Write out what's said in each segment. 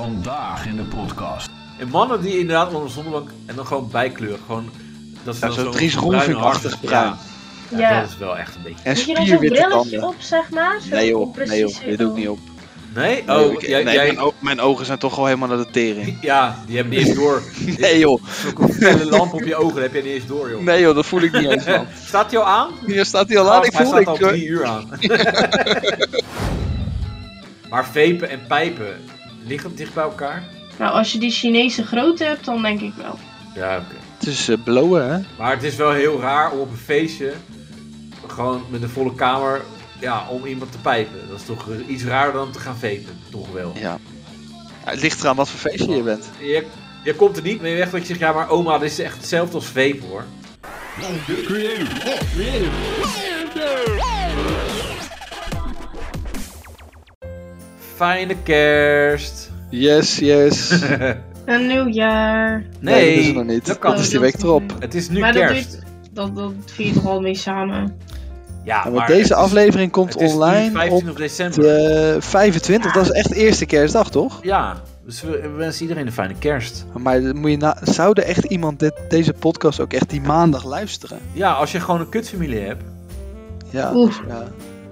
Vandaag in de podcast. En mannen die inderdaad onder de zonnebank en dan gewoon bijkleur. Gewoon, dat is Ja, dan zo'n zo'n Dries bruine Rolfink-achtig hartjes. bruin. Ja, Ja. dat is wel echt een beetje... En Moet je dan zo'n spierwitte brilletje tanden. op, zeg maar? Zo Nee joh, precies nee joh, dit doe ik niet op. Nee? Oh, Nee, ik- jij... nee, jij... mijn, o- mijn ogen zijn toch al helemaal naar de tering. Ja, die hebben niet eens door. Nee joh, Zo'n felle lamp op je ogen, dat heb jij niet eens door, joh. nee joh, dat voel ik niet eens man. Staat die al aan? Hier staat hij al aan, Oh, ik hij voel staat ik. eh, al hoor. drie uur aan. maar vapen en pijpen, ligt het dicht bij elkaar? Nou, als je die Chinese grote hebt, dan denk ik wel. Ja, oké. Het is eh, blowen hè. Maar het is wel heel raar om op een feestje gewoon met een volle kamer ja, om iemand te pijpen. Dat is toch eh, iets raarder dan te gaan vapen, toch wel. Ja. Ja, Het ligt eraan wat voor feestje je bent. Je, je komt er niet mee weg dat je zegt, ja maar oma, dit is echt hetzelfde als vapen hoor. Fijne kerst. Yes, yes. Nee, Een nieuwjaar. Nee, dat is er nog niet. dat kan dat is niet. die week erop. Het is nu maar dat, kerst. duurt, dat, dat vier je toch al mee samen. Ja, Ja, maar want deze het is- aflevering komt het is nu online op 25 december. de 25. Dat is echt eerste kerstdag toch? Ja, dus we we wensen iedereen een fijne kerst. Maar dan moet je na- zou er echt iemand dit, deze podcast ook echt die maandag luisteren? Ja, als je gewoon een kutfamilie hebt, Ja. Oeh, ja.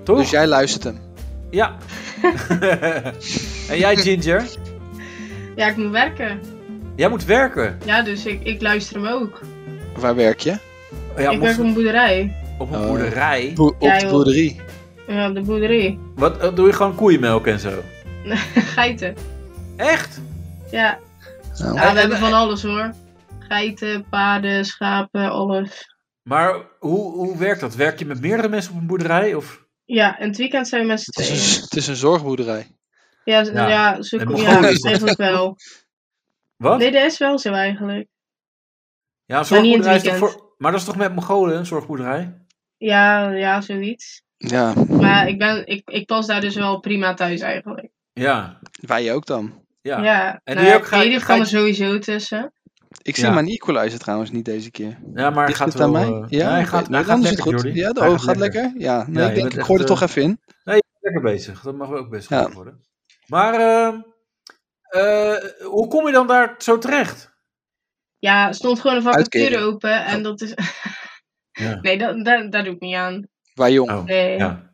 toch? Dus jij luistert hem. Ja. en jij, Ginger? ja, ik moet werken. Jij moet werken. Ja, dus ik, ik luister hem ook. Waar werk je? Oh Ja, ik moest werk op een boerderij. op een Oh. boerderij. Boer- op Ja, de joh. boerderie. Ja, op de boerderij. Wat eh, doe je gewoon koeienmelk en zo? Geiten. Echt? Ja. Nou. ja, we hebben van alles hoor. Geiten, paarden, schapen, alles. Maar hoe, hoe werkt dat? Werk je met meerdere mensen op een boerderij? Of? Ja, en het weekend zijn we met z'n Het is, tweeën. een, het is een zorgboerderij. Ja, z- Ja. ja, ja, zo, En ja Mongolen is dat. eigenlijk wel. Wat? Nee, dat is wel zo eigenlijk. ja, een maar niet in het zorgboerderij is toch weekend. voor... Maar dat is toch met Mongolen, een zorgboerderij? Ja, ja, zoiets. Ja, Maar ik, ben, ik, ik pas daar dus wel prima thuis eigenlijk. Ja. wij ook dan. Ja. Ja, ja. en doe je ook nou, geit- Edith kan er geit- sowieso tussen. Ik zie Ja. mijn equalizer trouwens niet deze keer. maar hij Ligt gaat het aan wel... mij? eh, ja, hij oké. gaat, hij Nee, gaat dan is het lekker, goed. Jordi. Ja, de Hij oog gaat gaat lekker. Ja, nee, Ja, ik, je denk, bent ik gooi er echt, toch eh, even in. Lekker bezig. Dat mag ook best Ja. goed worden. Maar ehm, eh, hoe kom je dan daar zo terecht? Ja, er stond gewoon een vacature Uitkering. open en dat is... Ja. Nee, dat, daar, daar doe ik niet aan. Wij jong. Oh, Nee, ja.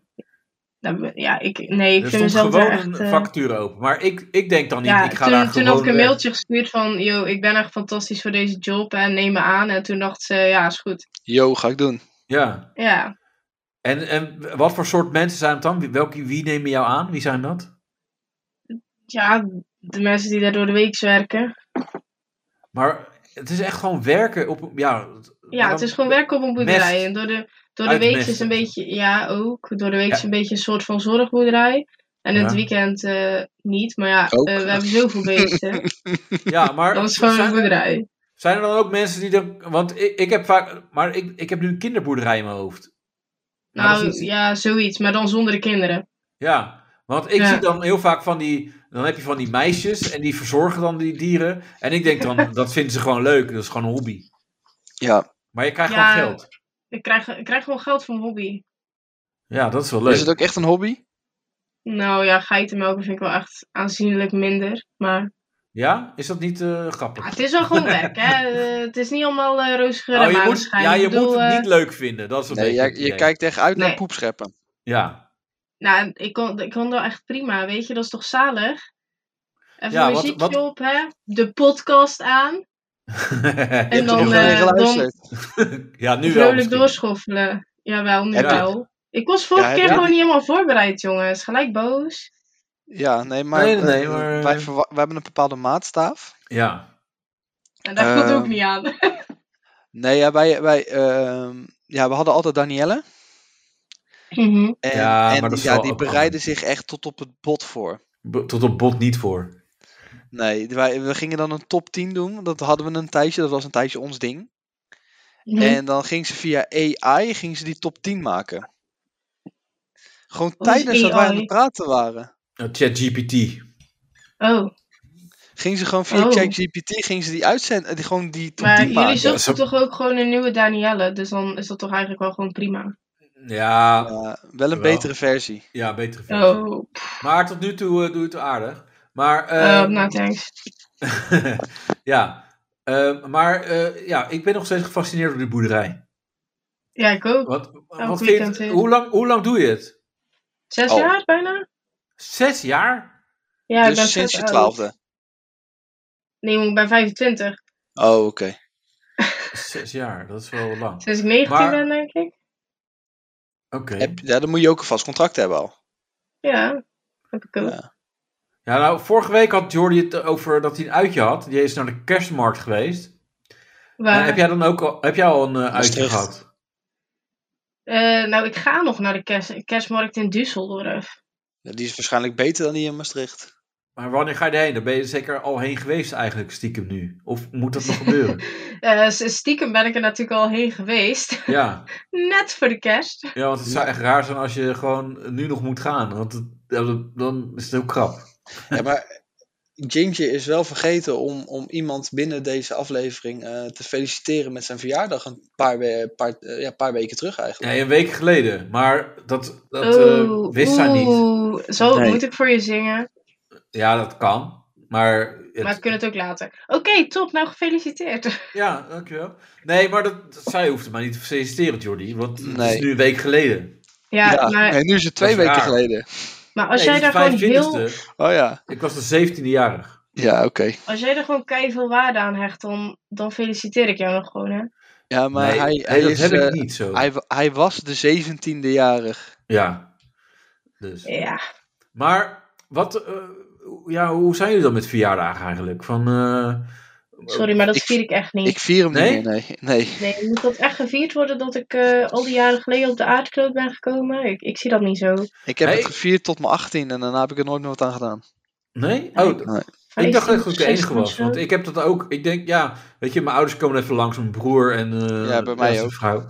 daar ben- ja ik, nee, ik er vind stond mezelf gewoon daar echt... een eh, vacature open. Maar ik, ik denk dan niet, ja, ik ga daar toen, gewoon eh, toen had ik een weg. mailtje gestuurd van... Yo, ik ben echt fantastisch voor deze job en neem me aan. En toen dacht ze, ja, is goed. Yo, ga ik doen. Ja. Ja, En, en wat voor soort mensen zijn het dan? Wie, welke, wie nemen jou aan? Wie zijn dat? ja de mensen die daar door de week werken. Maar het is echt gewoon werken op... Ja, Ja, het is gewoon werken op een boerderij. Mest. En door de, door de Uit week mest. is een beetje, ja ook, door de week is Ja. een beetje een soort van zorgboerderij. En in het Ja. weekend eh, niet, maar ja, Ook. eh, we hebben zoveel beesten. Ja, maar Dan is het gewoon een zijn, boerderij. zijn er dan ook mensen die dan... Want ik, ik heb vaak... Maar ik, ik heb nu een kinderboerderij in mijn hoofd. Maar dat is Nou niet- ja, zoiets, maar dan zonder de kinderen. Ja, want ik Ja. zie dan heel vaak van die. Dan heb je van die meisjes en die verzorgen dan die dieren. En ik denk dan, dat vinden ze gewoon leuk. Dat is gewoon een hobby. Ja. Maar je krijgt Ja. gewoon geld. Ik krijg, ik krijg gewoon geld voor mijn hobby. Ja, dat is wel leuk. Is het ook echt een hobby? Nou ja, geitenmelken vind ik wel echt aanzienlijk minder. Maar Ja, is dat niet eh, grappig? ja, het is wel gewoon werk, hè. Eh, het is niet allemaal eh roze geur Oh, en je moet, maneschijn. ja, je Ik bedoel, moet het eh, niet leuk vinden. Dat is een Nee, beetje jij- het je, idee. kijkt echt uit naar Nee. poepscheppen. Ja, Nou, ik kon, ik kon wel echt prima, weet je, dat is toch zalig? Even Ja, een wat- muziekje wat- op, hè? De podcast aan. En Heb je dan, nog alleen eh, dus geluisterd? ja nu wel. vrolijk misschien. doorschoffelen. Jawel, nu Heb je- wel. Ik was vorige Ja, heb keer je- gewoon niet helemaal voorbereid, jongens. Gelijk boos. Ja, nee, maar, Nee, nee, nee, eh, maar- Wij, verwa- wij hebben een bepaalde maatstaaf. Ja. En daar komt ook Ehm, niet aan. Nee, ja, wij, wij, ehm, ja, we hadden altijd Danielle. Mhm. En, Ja, en maar dat die, is ja, wel die ook bereidde zich echt tot op het bot voor. B- Tot op bot niet voor. Nee, wij, we gingen dan een top 10 doen. Dat hadden we een tijdje. Dat was een tijdje ons ding. Mhm. En dan ging ze via AI ging ze die top 10 maken. Gewoon Wat is tijdens dat wij aan AI? het praten waren. Nou, ChatGPT. Oh, Ging ze gewoon via Oh. ChatGPT ging ze die uitzenden. eh, Die, gewoon die top maar 10 maken. jullie zochten zo- toch ook gewoon een nieuwe Danielle. Dus dan is dat toch eigenlijk wel gewoon prima. Ja, Ja, wel een Jawel. betere versie. ja, betere versie. Oh, Maar tot nu toe eh, doe je het aardig. Maar, Eh, ehm, nou, thanks. ja. Ehm, maar eh, ja, ik ben nog steeds gefascineerd door die boerderij. Ja, ik ook. Wat, wat vind je weekend het- weer. hoe, lang, hoe lang doe je het? Zes Oh. jaar bijna? Zes jaar? Ja, ik ben dus sinds vet je oud. twaalfde. Nee, jongen, ik ben 25. Oh, oké. Zes jaar, dat is wel lang. Sinds ik 19 Maar- ben, denk ik. Oké. Heb- Ja, dan moet je ook een vast contract hebben al. Ja, heb ik ook. Ja. Ja, nou, vorige week had Jordi het over dat hij een uitje had. Die is naar de kerstmarkt geweest. Waar- Eh, heb jij dan ook al, heb jij al een eh, uitje Maastricht. gehad? Eh, nou, ik ga nog naar de kerst, kerstmarkt in Düsseldorf. Ja, Die is waarschijnlijk beter dan die in Maastricht. Maar wanneer ga je erheen? Dan ben je zeker al heen geweest eigenlijk stiekem nu. Of moet dat nog gebeuren? Eh, s- stiekem ben ik er natuurlijk al heen geweest. ja. Net voor de kerst. ja, want het zou echt raar zijn als je gewoon nu nog moet gaan. Want het- ja, dat- dan is het heel krap. Ja, maar Ginger is wel vergeten om, om iemand binnen deze aflevering eh, te feliciteren met zijn verjaardag een paar, we- paar, eh, ja, paar weken terug Ja, eigenlijk. een week geleden. Maar dat, dat eh, Oeh, wist zij niet. Oh, oeh. Zo Nee. moet ik voor je zingen. Ja, dat kan. Maar, het- Maar we kunnen het ook later. Oké, top. Nou, gefeliciteerd. Ja, dankjewel. Nee, maar dat, dat- zij hoeft mij niet te feliciteren, Jordi. Want het Nee. is nu een week geleden. Ja, maar, en nu is het dat twee is weken raar. geleden. maar als, Nee, jij daar het is gewoon de heel, 25e. Oh ja. Ik was de 17e jarig. Ja, oké. als jij er gewoon keihard veel waarde aan hecht, dan, dan feliciteer ik jou nog gewoon, hè? Ja, maar nee, hij, nee, hij, dat is, heb eh, ik niet zo. hij, wa- hij was de 17e jarig. Ja. Dus. Ja. Maar wat, eh, ja, hoe zijn jullie dan met verjaardagen eigenlijk? Van, eh, Sorry, maar dat Ik- vier ik echt niet. Ik vier hem Nee? niet meer, nee. nee. Nee, moet dat echt gevierd worden dat ik eh, al die jaren geleden op de aardkloot ben gekomen? Ik, ik zie dat niet zo. Ik heb Nee. het gevierd tot mijn 18 en daarna heb ik er nooit meer wat aan gedaan. nee? Oh, d- ik dacht echt dat ik de enige was. Want ik heb dat ook. Ik denk, ja, weet je, mijn ouders komen even langs, mijn broer en eh, Ja, bij mij zijn ook. vrouw.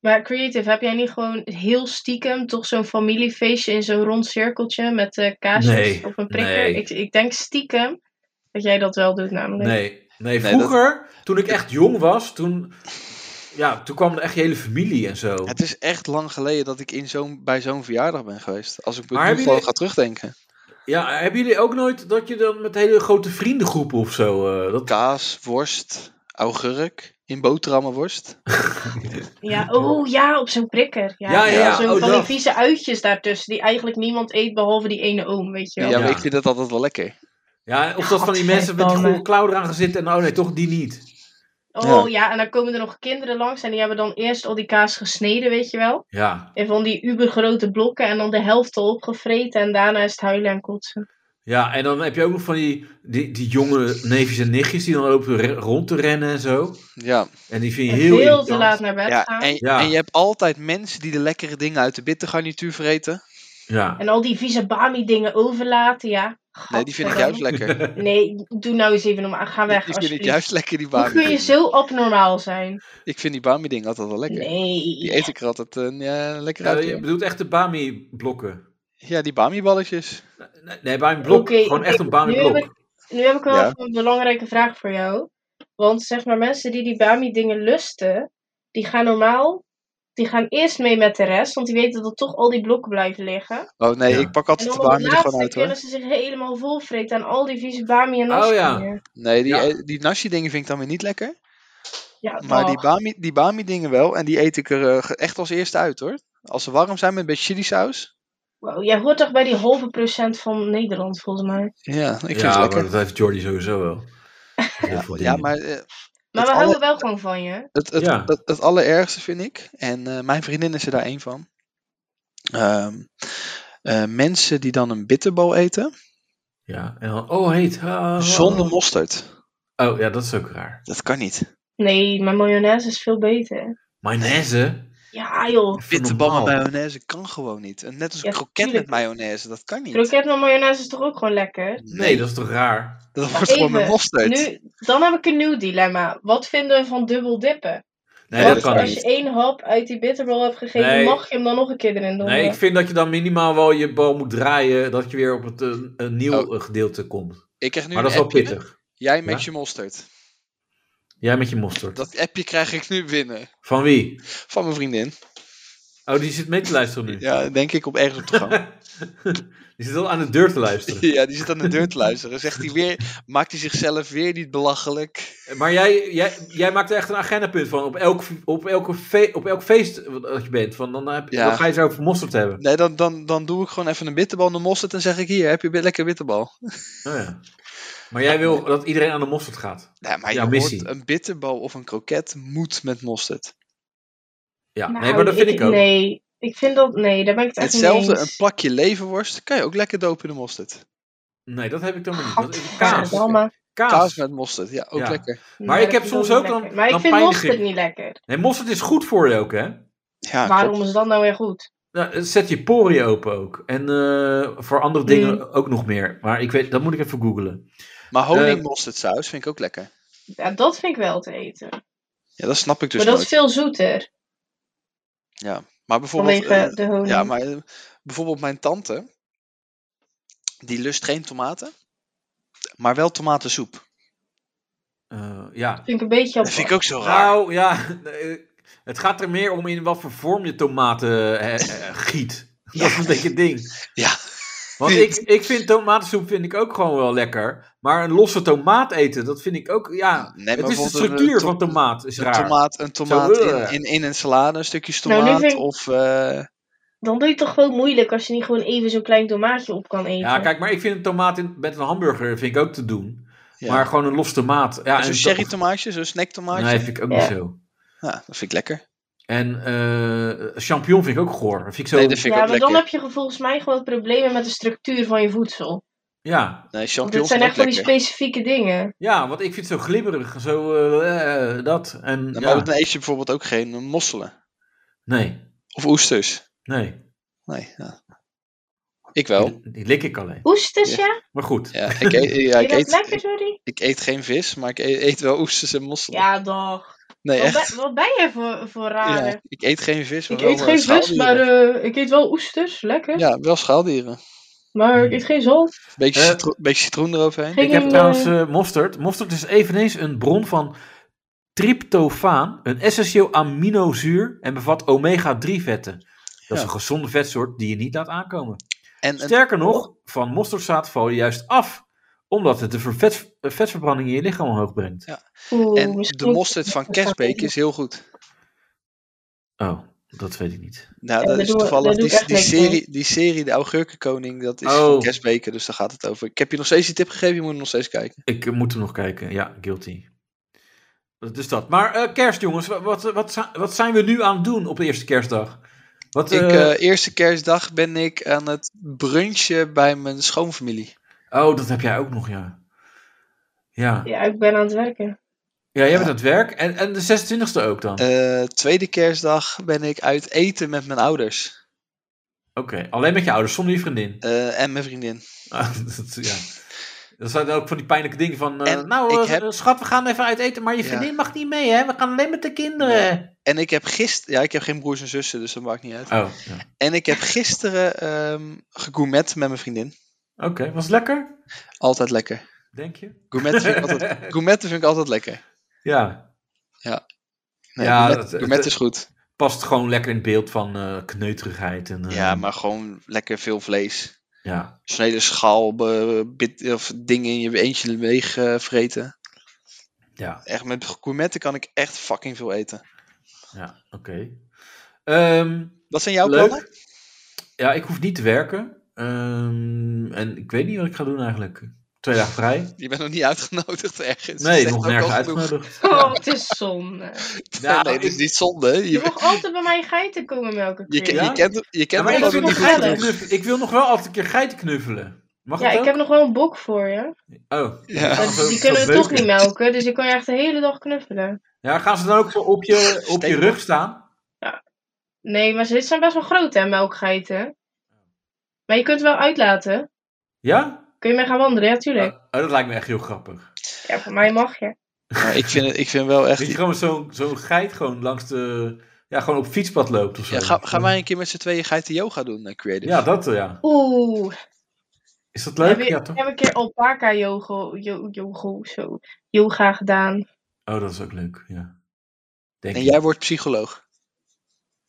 Maar Creative, heb jij niet gewoon heel stiekem toch zo'n familiefeestje in zo'n rond cirkeltje met eh kaasjes Nee, op een prikker? nee. Ik, ik denk stiekem dat jij dat wel doet namelijk. Nee, nee Nee, dat- vroeger, toen ik echt jong was, toen, ja, toen kwam er echt je hele familie en zo. Het is echt lang geleden dat ik in zo'n, bij zo'n verjaardag ben geweest. Als ik Maar nu hebben gewoon jullie- ga terugdenken. Ja, hebben jullie ook nooit dat je dan met hele grote vriendengroepen of zo... eh, dat... Kaas, worst, augurk, in boterhammenworst. Ja, oh ja, op zo'n prikker. Ja, Ja, ja, ja, Zo'n oh, van dat. die vieze uitjes daartussen die eigenlijk niemand eet behalve die ene oom, weet je Ja, wel. Ja. maar ik vind dat altijd wel lekker. Ja, of dat van die mensen met die Godverdomme. goede klauw eraan gaan zitten en oh nee, toch die niet. Oh ja, en dan komen er nog kinderen langs en die hebben dan eerst al die kaas gesneden, weet je wel. Ja, In van die ubergrote blokken en dan de helft al opgevreten en daarna is het huilen en kotsen. ja, en dan heb je ook nog van die, die, die jonge neefjes en nichtjes die dan lopen re- rond te rennen en zo. Ja, En die vind je En heel veel te irritant. laat naar bed ja, gaan. en, En... Ja. en je hebt altijd mensen die de lekkere dingen uit de bittergarnituur vreten. Ja. al die vieze Bami dingen overlaten, ja. Nee, die vind ik Gadverdamme. juist lekker. Nee, doe nou eens even normaal. Ga Die weg vind ik alsjeblieft. juist lekker, die Hoe kun je bami. zo abnormaal zijn? Ik vind die bami ding altijd wel lekker. Die Nee. eet ik er altijd eh, ja, lekker Ja, uit. je hoor. bedoelt echt de Bami-blokken. Ja, die bami balletjes. Nee, Nee, Bami-blok. Oké, Gewoon echt een nu heb Bami-blok. ik, nu heb ik wel Ja. even een belangrijke vraag voor jou. Want zeg maar, mensen die die Bami dingen lusten, die gaan normaal... Die gaan eerst mee met de rest, want die weten dat toch al die blokken blijven liggen. Oh nee, Ja. ik pak En altijd dan de op het bami er laatste gewoon uit kunnen hoor. ze zich helemaal volvreten aan al die vieze bami en Oh, nasi ja. dingen. Nee, die, Ja. eh, die nashi dingen vind ik dan weer niet lekker. Oh, ja Maar die dag. bami, die bami dingen wel. En die eet ik er eh, ge- echt als eerste uit hoor. Als ze warm zijn met een beetje chili saus. Wow, jij hoort toch bij die halve procent van Nederland, volgens mij. Ja, ik vind ja, het maar lekker. dat heeft Jordi sowieso wel. Heel veel Ja, dingen. maar eh, Maar Het we alle- houden wel gewoon van je. Het, het, Ja. het, het allerergste vind ik, en eh, mijn vriendin is er daar één van. Ehm, eh, mensen die dan een bitterbal eten Ja, en dan, oh heet. ah, ah, zonder mosterd. ah. Oh ja, dat is ook raar. Dat kan niet. Nee, mijn mayonaise is veel beter. Mayonaise? Ja, joh. Even Bitterbal met normaal. mayonaise kan gewoon niet. En net als Ja, een kroket met tuurlijk. mayonaise, dat kan niet. Kroket met mayonaise is toch ook gewoon lekker? Nee, dat is toch raar? dat wordt gewoon met Even, mosterd. Nu, dan heb ik een nieuw dilemma. Wat vinden we van dubbel dippen? Nee, Want dat kan als niet. je één hap uit die bitterbal hebt gegeven, Nee. mag je hem dan nog een keer erin doen. Nee, ik vind dat je dan minimaal wel je bal moet draaien. Dat je weer op het eh, een nieuw Oh. eh, gedeelte komt. ik krijg nu Maar dat is een wel appje. pittig. Jij met Ja. je mosterd. Jij met je mosterd. Dat appje krijg ik nu binnen. Van wie? Van mijn vriendin. Oh, die zit mee te luisteren nu. Ja, denk ik op ergens op de gang. Die zit al aan de deur te luisteren. Ja, die zit aan de deur te luisteren. Zegt hij weer, maakt hij zichzelf weer niet belachelijk. Maar jij, jij, jij maakt er echt een agendapunt van. Op elk, op elke fe- op elk feest wat- dat je bent. Van, dan, heb, Ja. dan ga je zo over mosterd hebben. Nee, dan, dan, dan doe ik gewoon even een bitterbal in de mosterd en zeg ik, hier, heb je weer lekker bitterbal. Oh, ja. Maar jij wil dat iedereen aan de mosterd gaat. Nee, maar je Ja, hoort, missie. een bitterbal of een kroket moet met mosterd. Ja, Nou, nee, maar dat vind ik ook. Nee, ik vind dat... Nee, daar ben ik het echt niet Hetzelfde, eens. een plakje leverworst kan je ook lekker dopen in de mosterd. Nee, dat heb ik dan weer niet. Dat is kaas. Gadverdamme. Kaas kaas. met mosterd, ja, ook Ja. lekker. Maar ik dat heb vind soms niet ook dan- lekker. Maar ik dan vind pijnig mosterd ik. niet lekker. Nee, mosterd is goed voor je ook, hè? Ja, Waarom klopt. is dat nou weer goed? Nou, het zet je poriën open ook. En eh, voor andere dingen ook nog meer. Maar ik weet, dat moet ik even googlen. Maar Eh, honingmosterdsaus vind ik ook lekker. Ja, dat vind ik wel te eten. Ja, dat snap ik dus maar dat nooit. is veel zoeter. Maar bijvoorbeeld, Vanwege eh, de honing. ja, maar eh, bijvoorbeeld mijn tante, die lust geen tomaten, maar wel tomatensoep. Eh, ja. Vind ik een beetje Dat vind ik apart. ook zo raar. Nou, ja. eh, Het gaat er meer om in wat voor vorm je tomaten eh, eh, giet. Dat is een beetje het ding. Ja. Want ik, ik vind tomatensoep vind ik ook gewoon wel lekker. Maar een losse tomaat eten, dat vind ik ook, ja. Nee, Het is de bijvoorbeeld een, structuur eh, van to- tomaat, is Een raar. tomaat, een tomaat in, eh. in, in een salade, een stukje Nou, nu tomaat vind ik- of... eh, Dan doe je het toch gewoon moeilijk als je niet gewoon even zo'n klein tomaatje op kan eten. Ja, kijk, maar ik vind een tomaat in, met een hamburger vind ik ook te doen. ja. Maar gewoon een losse tomaat. Ja, zo'n en sherry tomaatje, zo'n snack tomaatje. Nee, vind ik ook Ja. niet zo. Ja, dat vind ik lekker. En eh champignon vind ik ook goor. Dat Vind ik zo, Nee, dat vind ik Ja, ook maar lekker. dan heb je ge- volgens mij gewoon problemen met de structuur van je voedsel. ja. Nee, Want dit champignons zijn vind ik echt ook van die lekker. specifieke dingen. ja, want ik vind het zo glibberig. Zo eh, eh, dat. En, Nou, ja. Maar dan eet je bijvoorbeeld ook geen eh, mosselen Nee, of oesters. nee. Nee, ja. Ik wel. Die, die lik ik alleen. Oesters, ja? Maar goed. Ja, ik eet, ja, ik Vind je dat eet, lekker, sorry? Ik eet geen vis, maar ik e- eet wel oesters en mosselen. Ja, dag. nee, Wat, echt. ben- wat ben jij voor, voor rare? Ja, ik eet geen vis, maar ik wel eet eh, geen vis, schaaldieren. maar eh, ik eet wel oesters. Lekker. Ja, wel schaaldieren. Maar ik eet geen zalm. Beetje, Eh, citroen, beetje citroen eroverheen. Geen- Ik heb eh, trouwens eh, mosterd. Mosterd is eveneens een bron van tryptofaan, een essentieel aminozuur en bevat omega-3 vetten. Dat Ja. is een gezonde vetsoort die je niet laat aankomen. En, en- Sterker nog, van mosterdzaad val je juist af, omdat het de vervet- eh, vetverbranding in je lichaam omhoog brengt. Oeh, en de misschien- mosterd van Kesbeek is heel goed. Oh, dat weet ik niet. Nou, dat Ja, daar is doen we- toevallig daar doe ik die, echt die, niks mee. serie, die serie, De Augurkenkoning, dat is Oh. van Kesbeke, dus daar gaat het over. Ik heb je nog steeds die tip gegeven, je moet hem nog steeds kijken. Ik eh, moet hem nog kijken. Ja, guilty. Dat is dat. Maar eh, kerst, jongens, wa- wat, wat, zi- wat zijn we nu aan het doen op de eerste kerstdag? Wat, ik, eh, eh, eerste kerstdag ben ik aan het brunchen bij mijn schoonfamilie. oh, dat heb jij ook nog, ja. Ja, ja Ja, ik ben aan het werken. jij bent aan het werk. En, en de 26e ook dan? Eh, tweede kerstdag ben ik uit eten met mijn ouders. Oké, alleen met je ouders, zonder je vriendin. Eh, en mijn vriendin. Ah, dat, ja. Dat zijn ook van die pijnlijke dingen van... eh, En nou, ik eh, heb- schat, we gaan even uit eten, maar je Ja. vriendin mag niet mee, hè? We gaan alleen met de kinderen. En ik heb gisteren... Ja, ik heb geen broers en zussen, dus dat maakt niet uit. Oh, ja. En ik heb gisteren ehm gegourmet met mijn vriendin. oké. Was het lekker, Altijd lekker. denk je? Gourmet vind ik altijd, gourmetten vind ik altijd lekker. Ja, Nee, Ja, gourmet, dat- dat- gourmet is goed. past gewoon lekker in het beeld van eh, kneuterigheid. En, eh, Ja, maar gewoon lekker veel vlees. Ja, Zo'n hele schaal be- bit, of dingen in je eentje leeg eh, vreten. ja, Echt, met gourmetten kan ik echt fucking veel eten. ja oké. Ehm, Wat zijn jouw leuk. plannen? Ja, ik hoef niet te werken. Ehm, en ik weet niet wat ik ga doen eigenlijk. Twee dagen vrij. Je bent nog niet uitgenodigd ergens. Dat Nee, zegt nog ook nergens al genoeg. uitgenodigd. Oh, het is zonde. Ja, nee, dat is ik- niet zonde. hè. Je Je, mag altijd bij mij geiten komen melken. je, Chris. Ja? je kent, je Ja, kent maar me ik, dat wil gewoon nog nog niet wel geiten goed leuk. genoeg. knuffelen. ik wil nog wel altijd een keer geiten knuffelen. Mag Ja, dat ik ook? heb nog wel een bok voor je. Oh. Ja. Gaan Maar ze ook die kunnen we veel toch niet melken, dus ik kan je echt de hele dag knuffelen. Ja, gaan ze dan ook op je, op je Steek- rug staan? Nee, maar ze- dit zijn best wel groot, hè, melkgeiten. Maar je kunt het wel uitlaten. Ja? Kun je mee gaan wandelen, ja, tuurlijk. Oh, dat lijkt me echt heel grappig. Ja, voor mij mag je. Maar ik vind, het- ik vind wel echt. Weet je, gewoon zo'n zo'n geit gewoon langs de... Ja, gewoon op fietspad loopt of zo. Ja, ga, gaan wij een keer met z'n tweeën geiten yoga doen, eh, Creative? Ja, dat eh, ja. Oeh. Is dat We leuk? hebben, Ja, we toch? hebben een keer alpaca yoga, yo- yoga, zo, yoga gedaan. Oh, dat is ook leuk, ja. Denk En ik. jij wordt psycholoog.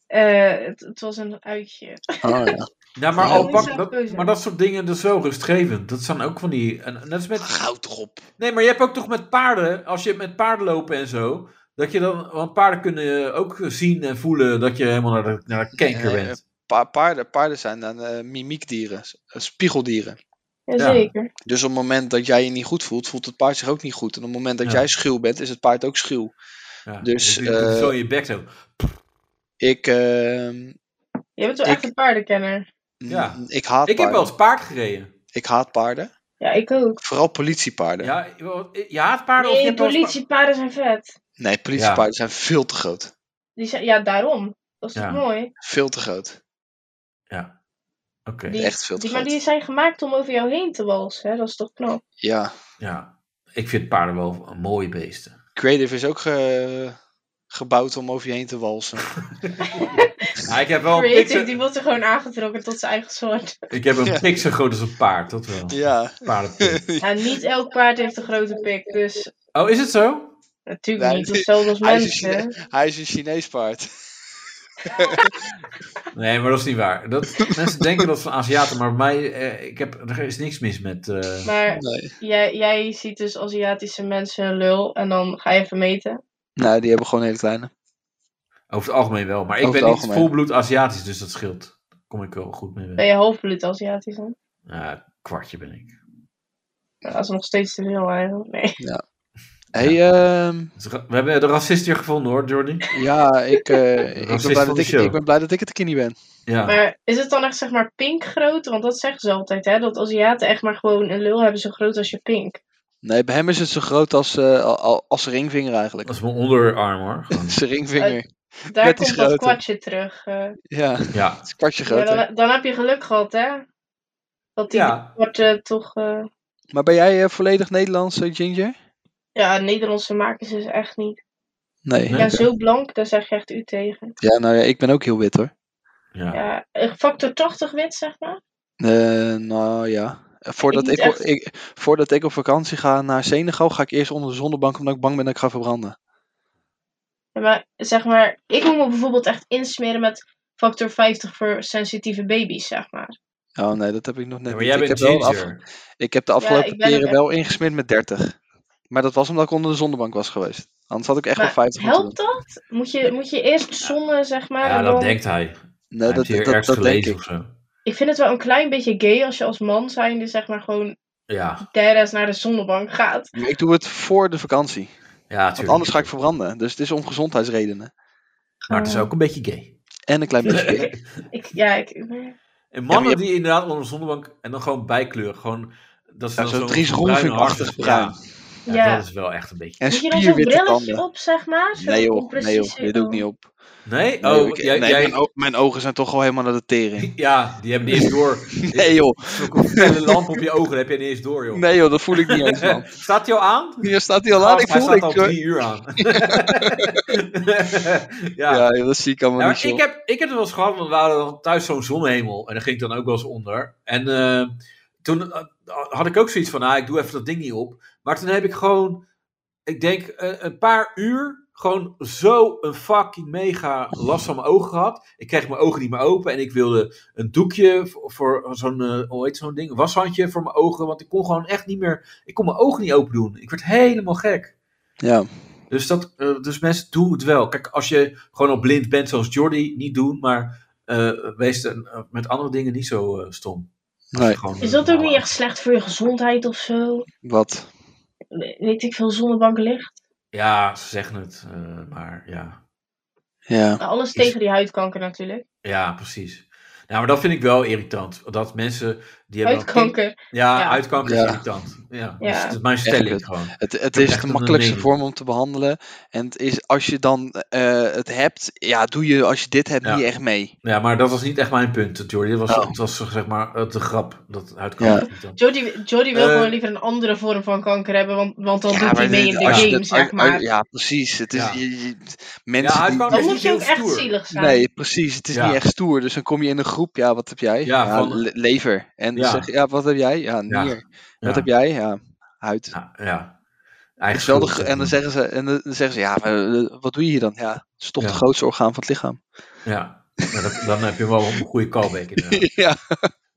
Eh, het, het was een uitje. Oh, ja. Ja, maar, Ja, al dat is pak, echt dat, keuze. maar dat soort dingen, dat is wel rustgevend. Dat zijn ook van die... En, en dat is met, Goud toch op. nee, maar je hebt ook toch met paarden, als je met paarden lopen en zo, dat je dan... Want paarden kunnen ook zien en voelen dat je helemaal naar de, naar de kanker Nee, bent. Pa- paarden, paarden zijn dan eh, mimiekdieren, s- eh, spiegeldieren. Jazeker. Dus op het moment dat jij je niet goed voelt, voelt het paard zich ook niet goed. En op het moment dat Ja. jij schuw bent, is het paard ook schuw. Ja, dus, je doet eh, zo in je bek zo. Ik, ehm, Je bent wel Ik- echt een paardenkenner. Ja. mm, ik haat Ik heb paarden. wel eens paard gereden. Ik haat paarden. Ja, ik ook. Vooral politiepaarden. Ja, je je haat paarden of je Nee, hebt wel eens pa- politiepaarden zijn vet. Nee, politiepaarden zijn veel te groot. Die zijn, ja, daarom. Dat is Ja. toch mooi? Veel te groot. Oké, Die, Echt veel te die, maar groot. die zijn gemaakt om over jou heen te walsen. Hè? Dat is toch knap? Ja. ja. Ik vind paarden wel mooie beesten. Creative is ook ge- gebouwd om over je heen te walsen. Ja, ik heb wel een Creative, pixel, die wordt er gewoon aangetrokken tot zijn eigen soort. ik heb een Ja. pik zo groot als een paard, dat wel. ja. Paardenpik. Ja, niet elk paard heeft een grote pik, dus Oh, is het zo? natuurlijk Nee, niet. Hetzelfde als hij is een Chine- mensen. Hij is een Chinees paard. Nee, maar dat is niet waar. Dat, mensen denken dat van Aziaten, maar bij mij, eh, ik heb, er is niks mis met. eh, Maar Nee. jij, jij ziet dus Aziatische mensen een lul en dan ga je vermeten. Nou, die hebben gewoon hele kleine. over het algemeen wel. Maar ik Over ben het niet algemeen. volbloed Aziatisch, dus dat scheelt. Daar kom ik wel goed mee. Ben weg. je halfbloed Aziatisch dan? Ja, kwartje ben ik. Nou, dat is nog steeds te veel eigenlijk. Nee. Hey, ehm, Dus ra- we hebben de racist hier gevonden hoor, Jordi. ja, ik, eh, ik, ben Racist blij van dat de ik, show. ik ben blij dat ik het een keer niet ben. Ja. Maar is het dan echt zeg maar pink groot? Want dat zeggen ze altijd, hè? Dat Aziaten echt maar gewoon een lul hebben zo groot als je pink. Nee, bij hem is het zo groot als, eh, al- al- als zijn ringvinger eigenlijk. Dat is mijn onderarm hoor. gewoon. Zijn ringvinger. Daar Net komt iets dat groter. kwartje terug. eh. Ja, het Ja. is een kwartje Ja, groter. dan, dan heb je geluk gehad, hè? Dat die Ja. wordt eh, toch... eh, Maar ben jij eh, volledig Nederlands, eh, Ginger? ja, Nederlandse maken ze dus echt niet. Nee. Ja, zo blank, daar zeg je echt u tegen. Ja, nou ja, ik ben ook heel wit hoor. ja. Ja, eh, factor 80 wit, zeg maar. Eh, nou ja. Eh, Voordat niet ik, op- echt. ik, voordat ik op vakantie ga naar Senegal, ga ik eerst onder de zonnebank omdat ik bang ben dat ik ga verbranden. Ja, maar zeg maar, ik moet me bijvoorbeeld echt insmeren met factor 50 voor sensitieve baby's, zeg maar. Oh nee, dat heb ik nog net Ja, maar niet. jij ik, bent heb wel een af- ginger. ik heb de afgelopen ik ben er keren echt. wel ingesmeerd met 30. Maar dat was omdat ik onder de zonnebank was geweest. Anders had ik echt wel Maar 50 moeten doen. helpt dat? Moet je, moet je eerst zonnen, zeg maar? Ja, en dat dan... denkt hij. Nee, Hij dat, heeft hier dat, dat, ergens denk gelezen ik. of zo. Ik vind het wel een klein beetje gay als je als man zijnde, zeg maar, gewoon Ja, dera's naar de zonnebank gaat. Maar ik doe het voor de vakantie. ja Want tuurlijk. anders ga ik verbranden. Dus het is om gezondheidsredenen. Maar het is ook een beetje gay. En een klein beetje. gay. Ik, ja, ik... En mannen Ja, maar die inderdaad onder de zonnebank en dan gewoon bijkleuren. Gewoon, dat ze Ja, dan zo'n zo'n Dries bruine Roelvink-achtig hartjes- bruin. Ja, Ja. dat is wel echt een beetje... En Moet je dan zo'n spierwitte brilletje tanden. op, zeg maar? Zo Nee joh, om precies nee joh, te- dit doe ik niet op. Nee? Nee, Oh, ik- jij, nee, jij- mijn, o- mijn ogen zijn toch al helemaal naar de tering. Ja, die hebben niet eens door. Nee joh, Zo'n felle lamp op je ogen dat heb je niet eens door, joh. nee joh, dat voel ik niet eens man. Staat die al aan? Hier staat hij al aan, ik Gast, Oh, hij voel staat niks al hoor. drie uur aan. ja. Ja, joh, dat zie ik allemaal Ja, niet maar ik joh. heb, ik heb het wel eens gehad, want we hadden dan thuis zo'n zonhemel. En daar ging ik dan ook wel eens onder. En eh, toen eh, had ik ook zoiets van, ah, ik doe even dat ding niet op. Maar toen heb ik gewoon, ik denk eh, een paar uur, gewoon zo een fucking mega last van mijn ogen gehad. Ik kreeg mijn ogen niet meer open en ik wilde een doekje voor, voor zo'n, eh, hoe heet zo'n ding, een washandje voor mijn ogen. Want ik kon gewoon echt niet meer, ik kon mijn ogen niet open doen. Ik werd helemaal gek. Ja, Dus, dat, eh, dus mensen, doe het wel. Kijk, als je gewoon al blind bent zoals Jordi, niet doen. Maar eh, wees dan, eh, met andere dingen niet zo eh, stom. Als je nee, gewoon, eh, Is dat ook niet normaal- echt slecht voor je gezondheid of zo? wat? We- Weet ik veel, zonnebank licht? Ja, ze zeggen het. eh, maar ja. Ja, Nou, Alles tegen die huidkanker natuurlijk. ja, precies. Nou, maar dat vind ik wel irritant. Dat mensen, die hebben... dan- Huidkanker. Ja, Ja. huidkanker Ja. is irritant. Ja, Ja. Dat is mijn stelling kut. gewoon. het, het heb is echt de een makkelijkste mening. vorm om te behandelen. En het is, als je dan eh, het hebt, ja, doe je als je dit hebt Ja. niet echt mee. Ja, maar dat was niet echt mijn punt, Jordi. Dat was, Oh. het was zeg maar eh, de grap. Dat huidkanker Ja. is irritant. Jordi, Jordi wil Eh, gewoon liever een andere vorm van kanker hebben, want, want dan doet hij maar mee dit- in de als je game, dit- zeg als- als- maar. ja, precies. Het is, Ja. je- je- Ja, mensen hij die- kan die- Dan moet je ook Heel echt stoer. zielig zijn. Nee, precies. Het is Ja. niet echt stoer. Dus dan kom je in een groep. Ja, wat heb jij? Ja, van- le- lever. En Ja. dan zeg je, ja, wat heb jij? Ja, Ja. nier. Ja. Wat heb jij? Ja, huid. Ja, ja. Het is wel de Eigen gro- schuld, en, dan zeg zeggen ze, en dan zeggen ze, ja, maar, eh, wat doe eh, je hier dan? Ja, het is toch Ja. het grootste orgaan van het lichaam. maar. Ja. Nou, dat- dan heb je wel een goede callback inderdaad. ja.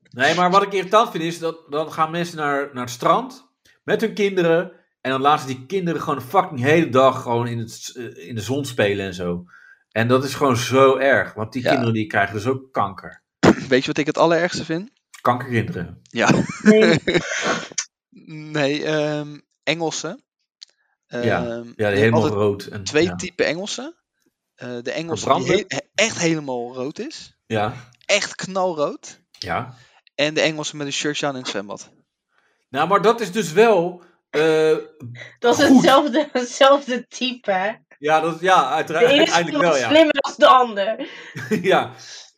Nee, maar wat ik irritant vind is dat dan gaan mensen naar, naar het strand met hun kinderen. En dan laten ze die kinderen gewoon de fucking hele dag gewoon in, het, eh, in de zon spelen en zo. En dat is gewoon zo erg. Want die Ja. kinderen die krijgen dus ook kanker. Weet je wat ik het allerergste vind? Kankerkinderen. Ja. Nee, Nee, ehm Engelsen. Ja. Ehm, Ja, je hebt die helemaal altijd rood. En, twee ja. typen Engelsen. Eh, de Engelse die Verbranden? he- he- echt helemaal rood is. ja, Echt knalrood. ja. En de Engelsen met een shirtje aan in het zwembad. Nou, maar dat is dus wel... eh, dat is Goed. hetzelfde, hetzelfde type. hè. ja, dat, ja, De uiteraard. ene is Uiteindelijk wel, nog ja. slimmer dan de ander. ja.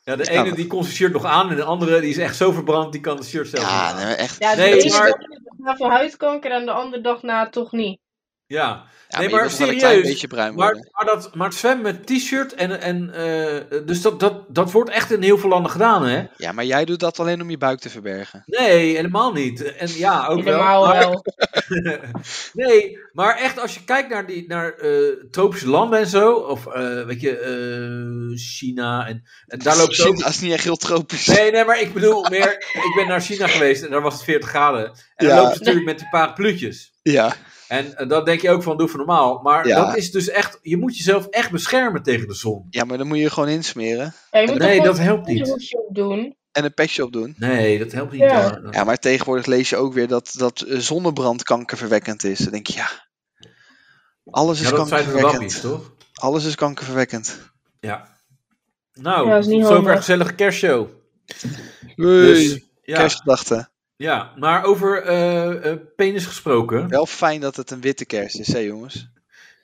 Ja, de Ja. ene die kon zijn shirt nog aan en de andere die is echt zo verbrand, die kan het shirt zelf niet Ja, aan. nee, maar echt. Ja, de Nee, ene maar- dag na voor huidkanker en de andere dag na toch niet. Ja, Ja, Nee, maar je maar moet wel een klein serieus, beetje bruin Maar, worden. maar, dat, maar het zwemmen met t-shirt en. en eh, dus dat, dat, dat wordt echt in heel veel landen gedaan, hè? Ja, maar jij doet dat alleen om je buik te verbergen. Nee, helemaal niet. En ja, ook Helemaal wel. maar- wel. nee, maar echt als je kijkt naar, die, naar eh, tropische landen en zo. Of eh, weet je, eh, China. En, en daar loopt het ook. China is niet echt heel tropisch. Nee, nee, maar ik bedoel meer. Ik ben naar China geweest en daar was het 40 graden. En Ja. dan lopen ze natuurlijk met die parapluutjes. Ja, En eh, dan denk je ook van, doe voor normaal. Maar Ja. dat is dus echt. Je moet jezelf echt beschermen tegen de zon. ja, maar dan moet je je gewoon insmeren Ja, je moet Nee, toch dat gewoon helpt een niet. onderzoekje doen. en een petje op doen. Nee, dat helpt niet. Ja. daar. Ja, maar tegenwoordig lees je ook weer dat, dat eh, zonnebrand kankerverwekkend is. Dan denk je, ja, alles is Ja, dat zijn de wappies, kankerverwekkend. toch? Alles is kankerverwekkend. Ja. Nou, Ja, dat is niet zover handig. een gezellige kerstshow. Dus, Dus, ja, kerstgedachten. ja, maar over eh, eh, penis gesproken. Ja. Wel fijn dat het een witte kerst is, hè jongens?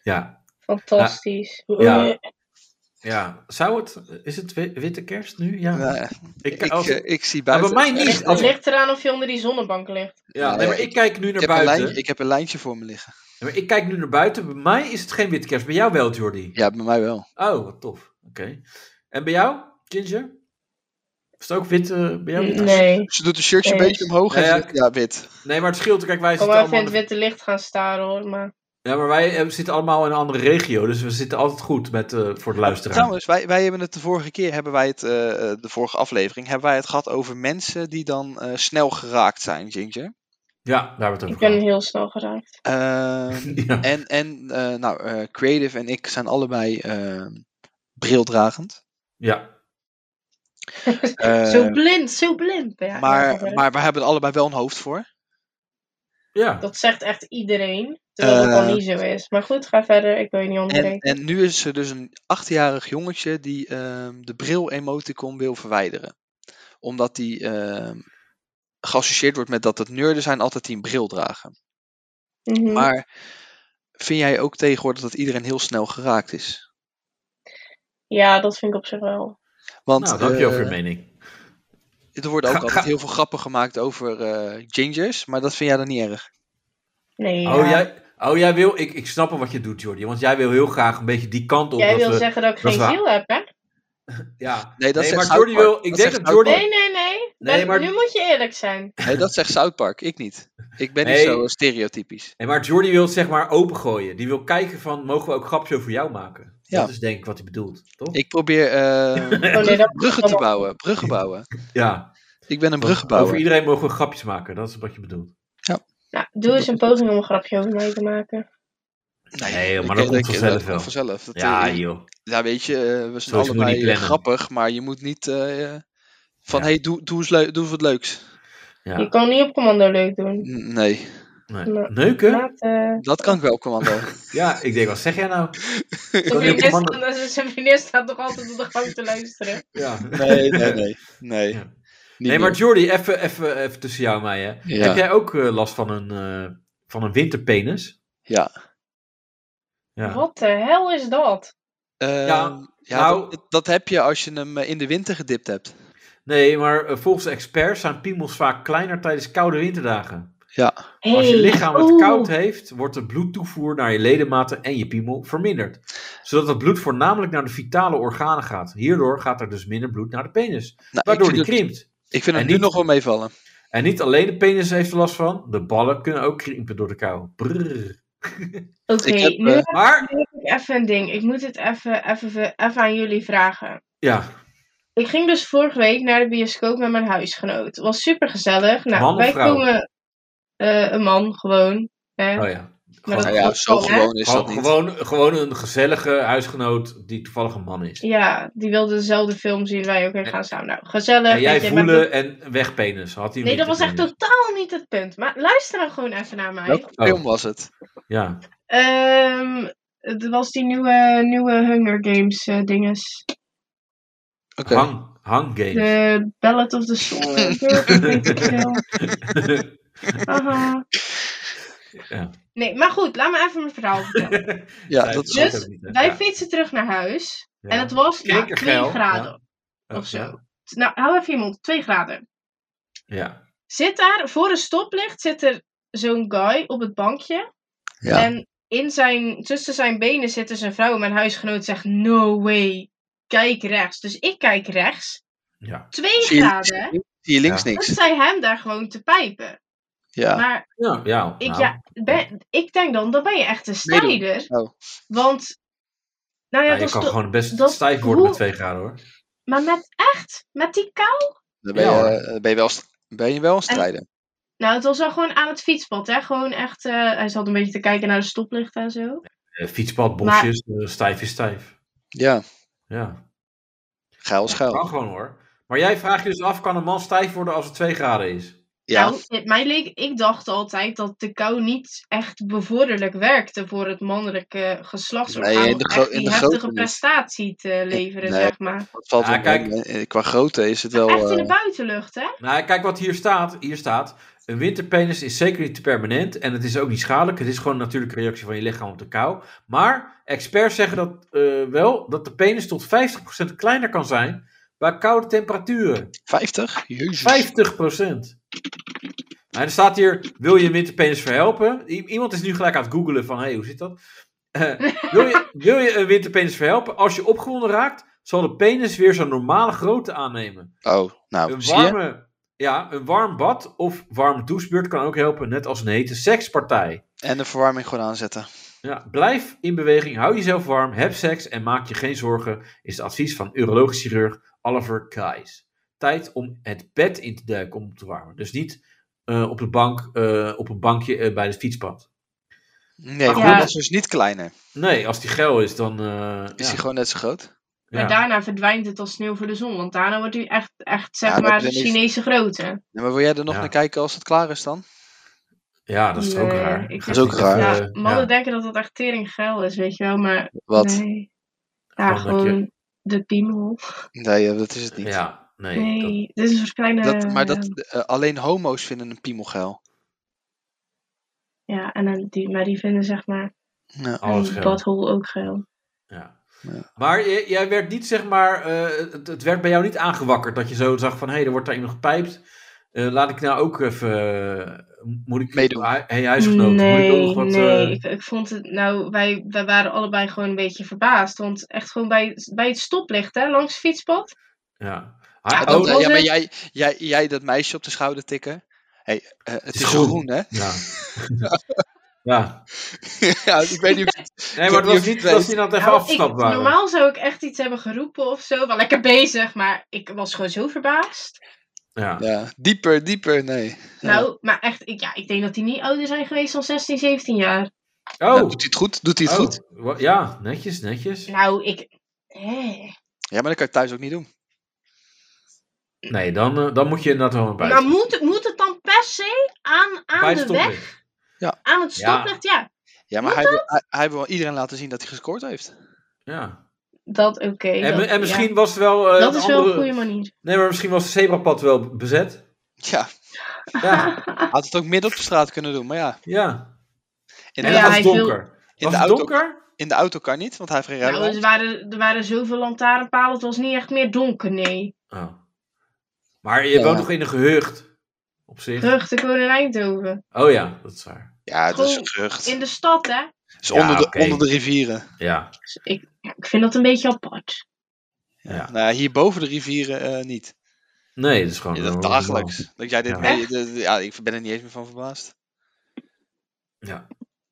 ja. Fantastisch. Eh, Ja. zou het, is het wi- witte kerst nu? Ja, Nou ja, ik, ik, als- eh, ik zie Ja, bij buiten. mij niet. Het Als, ligt eraan of je onder die zonnebank ligt. ja, nee, maar ik kijk nu Ik naar heb, een buiten. lijntje, ik heb een lijntje voor me liggen. Nee, maar ik kijk nu naar buiten. Bij mij is het geen witte kerst. Bij jou wel, Jordi. Ja, bij mij wel. Oh, wat tof. Oké. En bij jou, Ginger? Is het ook wit eh, bij jou? wit? Nee. Ze doet een shirtje een Nee. beetje omhoog en Ja, ze- ja, wit. Nee, maar het scheelt. Kijk, wij Oh, Ik zitten kan wel allemaal... even in in het de- witte licht gaan staren hoor. Maar Ja, maar wij eh, zitten allemaal in een andere regio, dus we zitten altijd goed met, eh, voor de luisteraar. Trouwens, wij, wij hebben het de vorige keer, hebben wij het, eh, eh, de vorige aflevering, hebben wij het gehad over mensen die dan eh, snel geraakt zijn, Ginger. Ja, daar hebben we ik het over ben gehad. heel snel geraakt. Ehm, Ja. en en eh, nou, eh, Creative en ik zijn allebei ehm, brildragend. ja, Eh, zo blind, zo blind. ben jij. maar, maar we hebben er allebei wel een hoofd voor. ja. Dat zegt echt iedereen. Terwijl dat Eh. dan niet zo is. Maar goed, ga verder. Ik wil je niet En, onderbreken. en nu is er dus een achtjarig jongetje die ehm, de bril-emoticon wil verwijderen. Omdat die ehm, geassocieerd wordt met dat het nerden zijn altijd die een bril dragen. Mhm. Maar vind jij ook tegenwoordig dat iedereen heel snel geraakt is? Ja, dat vind ik op zich wel. Want Nou, dank je eh, over je mening. er worden ook Ga- altijd ga- heel veel grappen gemaakt over eh, gingers, maar dat vind jij dan niet erg. Nee, ja. Oh, jij, oh, jij wil... Ik, ik snap al wat je doet, Jordi, want jij wil heel graag een beetje die kant op. Jij dat wil we- zeggen dat ik dat geen we- ziel heb, hè? Ja. Nee, dat nee, zegt maar Jordi South Park. wil... Ik Dat denk zegt dat Jordi... Nee, nee, nee. Nee, Ben- maar- Nu moet je eerlijk zijn. Nee, dat zegt South Park, ik niet. Ik ben niet Nee. zo stereotypisch. Nee, maar Jordi wil het zeg maar opengooien. Die wil kijken van, mogen we ook grapjes over jou maken? Ja. Dat is denk ik wat hij bedoelt, toch? Ik probeer eh, Oh nee, dat bruggen te bouwen, bruggen bouwen. Ja. Ik ben een Over bruggenbouwer. iedereen mogen we grapjes maken, dat is wat je bedoelt. Nou, doe eens een poging om een grapje over mij te maken. Nee, Nou, ik- maar dat ik- komt ik- vanzelf dat komt wel. vanzelf. Dat, Ja, eh, joh. ja, weet je, eh, we zijn Zoiets moet je niet allebei plannen. grappig, maar je moet niet eh, eh, van, Ja. hey, doe, doe, eens leu- doe eens wat leuks. Je Ja. kan niet op commando leuk doen. N- Nee, Nee. Nou, Neuken? Laat, eh, dat kan ik wel, commando. Ja, ik denk, wat zeg jij nou? Zijn Kan je op vriendin commando- staat- zijn vriendin staat toch altijd op de gang te luisteren. Ja. Nee, nee, nee. Nee, Ja. Niet Nee, maar meer. Jordi, even, even, even tussen jou en mij. Hè. Ja. Heb jij ook eh, last van een, eh, van een winterpenis? Ja. Ja. Wat de hel is dat? Ehm, Ja, ja, nou- dat, dat heb je als je hem eh, in de winter gedipt hebt. Nee, maar eh, volgens experts zijn piemels vaak kleiner tijdens koude winterdagen. Ja. Als je Hey, lichaam het oeh. koud heeft, wordt de bloedtoevoer naar je ledematen en je piemel verminderd. Zodat het bloed voornamelijk naar de vitale organen gaat. Hierdoor gaat er dus minder bloed naar de penis, Nou, waardoor ik, die vind het, krimpt. ik vind het en nu niet- nog wel meevallen. En niet alleen de penis heeft er last van, de ballen kunnen ook krimpen door de kou. Brrr. Oké, Ik heb, nu eh, heb Maar, ik even een ding. Ik moet het even, even, even aan jullie vragen. ja, Ik ging dus vorige week naar de bioscoop met mijn huisgenoot. Het was super gezellig. Nou, Man of wij vrouw? komen eh, een man gewoon. Hè? Oh ja. Maar Gewoon- dat- Nou ja, klopt zo wel, hè? gewoon is dat gewoon, niet. gewoon, gewoon een gezellige huisgenoot die toevallig een man is. Ja, die wilde dezelfde film zien. Wij ook weer gaan samen. Nou, gezellig. En jij weet je, maar voelen en wegpenis. Had hij dat- Nee, dat was echt een. totaal niet het punt. Maar luister dan gewoon even naar mij. Welke Oh. film was het? Ja. Ehm, het was die nieuwe, nieuwe Hunger Games eh, dinges. Oké. Hang, hang games. De Ballad of the Soul. Ik weet het niet, ik wil. Haha. Ja. Nee, maar goed, laat me even mijn verhaal vertellen. Ja, dat is Dus- goed. Wij fietsen terug naar huis. En het was nou, Zeker 2 geil, graden Ja. of zo. Nou, hou even je mond. 2 graden. Ja. zit daar, voor een stoplicht zit er zo'n guy op het bankje. Ja. En in zijn, tussen zijn benen zit dus een vrouw. En mijn huisgenoot zegt, no way, kijk rechts. Dus ik kijk rechts. Ja. Twee Zie je- graden. Zie je Ja. links Dat niks. zij hem daar gewoon te pijpen. Ja. Maar Ja. ja, ik, nou. ja, ben, ik denk dan, dan ben je echt een Meedoen. strijder. Oh. Want, nou ja, Ja, dat je is kan toch- gewoon best dat- stijf worden hoe- met 2 graden hoor. Maar met echt, met die kou. Dan ben je, Ja, hoor. eh, dan ben je wel, st- ben je wel een strijder. Nou, het was wel gewoon aan het fietspad, hè. Gewoon echt, eh, hij zat een beetje te kijken naar de stoplichten en zo. Eh, fietspad, bosjes, eh, stijf is stijf. Ja, Ja. geil is geil. Kan gewoon hoor. Maar jij vraagt je dus af, kan een man stijf worden als het 2 graden is? Ja, Nou, het- mij leek, ik dacht altijd dat de kou niet echt bevorderlijk werkte voor het mannelijke geslachtsorgaan. Nee, in om de gro- echt in die de heftige grote niet. prestatie te leveren, Nee. zeg maar. dat valt Ah, wel kijk. mee. Eh, Qua grootte is het wel... echt in de eh, buitenlucht, hè? Nou, kijk wat hier staat. Hier staat, een winterpenis is zeker niet permanent en het is ook niet schadelijk. Het is gewoon een natuurlijke reactie van je lichaam op de kou. Maar experts zeggen dat eh, wel dat de penis tot 50% kleiner kan zijn bij koude temperaturen. 50? Jezus. 50%. En er staat hier, wil je een winterpenis verhelpen? I- iemand is nu gelijk aan het googelen van, hé, hey, hoe zit dat? Eh, wil, je, wil je een winterpenis verhelpen? Als je opgewonden raakt, zal de penis weer zijn normale grootte aannemen. Oh, nou, Een zie je? warme, ja, een warm bad of warme douchebeurt kan ook helpen, net als een hete sekspartij. En de verwarming gewoon aanzetten. Ja, blijf in beweging, hou jezelf warm, heb seks en maak je geen zorgen, is het advies van urologisch chirurg Oliver Kais. Tijd om het bed in te duiken om op te warmen. Dus niet eh, op, de bank, eh, op een bankje eh, bij het fietspad. Nee, goed, maar ja. dat is dus niet kleiner. Nee, als die geil is, dan. eh, Is ja, die gewoon net zo groot? ja. Maar daarna verdwijnt het als sneeuw voor de zon, want daarna wordt u echt, echt zeg Ja, dat maar, ben ik- Chinese grootte. Ja, maar wil jij er nog Ja. naar kijken als het klaar is dan? Ja, dat is toch ook Nee, raar. ik Gaat vind- niet Dat is ook even, Ja, eh, mannen ja, denken dat dat echt tering geil is, weet je wel, maar Wat? Nee, nee. Ja, Gewoon dat je- gewoon de piemel. eh, dat is het niet. ja, nee. dat- Nee, dit is een kleine... Dat, maar dat, eh, alleen homo's vinden een piemel geil. Ja, en dan die, maar die vinden zeg maar Ja. alles een Oh, geil. butthole ook geil. Ja. Ja. Maar j- jij werd niet, zeg maar, eh, het, het werd bij jou niet aangewakkerd dat je zo zag van, hé, er wordt daar iemand gepijpt. Eh, laat ik nou ook even, eh, moet ik, Meedoen. Hé, hey, huisgenoot, moet ik ook nee, nog wat... nee. eh, Ik, ik vond het, nou, wij, wij waren allebei gewoon een beetje verbaasd. Want echt gewoon bij, bij het stoplicht, hè, langs het fietspad. ja. Ja, Hij- Eh, Dat- oh, was ja, maar het? jij, jij, jij dat meisje op de schouder tikken. hey, eh, het is is, groen. groen, hè? ja. ja. ja, ik weet niet. of- Nee, maar het was niet dat ze dan even Nou, ik, afgestapt waren. normaal zou ik echt iets hebben geroepen of zo. Wel lekker bezig, maar ik was gewoon zo verbaasd. Ja. Ja, dieper, dieper, Oh. nee. Ja. Nou, maar echt, ik, ja, ik denk dat die niet ouder zijn geweest dan 16, 17 jaar. Oh, Nou, doet hij het goed? Doet hij het oh, goed? wa- Ja, netjes, netjes. Nou, ik... eh. Ja, maar dat kan je thuis ook niet doen. Nee, dan, eh, dan moet je inderdaad wel een Maar buiten. moet, moet het dan per se aan, aan de Buitenstoppen. weg? Aan het Ja. stoplicht? Ja, Ja, maar hij wil, hij, hij wil iedereen laten zien dat hij gescoord heeft. Ja. Dat oké. En, dat- en misschien ja. was het wel... eh, dat een is wel een andere- goede manier. Nee, maar misschien was het zebrapad wel bezet. Ja, Ja, Ah. had het ook midden op de straat kunnen doen, maar ja. ja. In En de, Ja, het was hij viel- donker. in Was de het auto, donker? in de auto kan niet, want hij heeft geen Nou, rijbewijs. er, waren, er waren zoveel lantaarnpalen, het was niet echt meer donker, nee. Oh. Maar je Ja. woont toch in een gehucht? Op zich? Terug te wonen in Eindhoven. Oh ja, dat is waar. Ja, het is Gewoon een gerucht. In de stad, hè? Het is Ja, onder, de, oké. onder de rivieren. Ja. Dus ik, ja, ik vind dat een beetje apart. ja. Nou, hier boven de rivieren eh, niet. Nee, dat is gewoon... Ja, dat eh, dagelijks. Dat jij dit Ja. mee- de- de- ja, ik ben er niet eens meer van verbaasd. Dus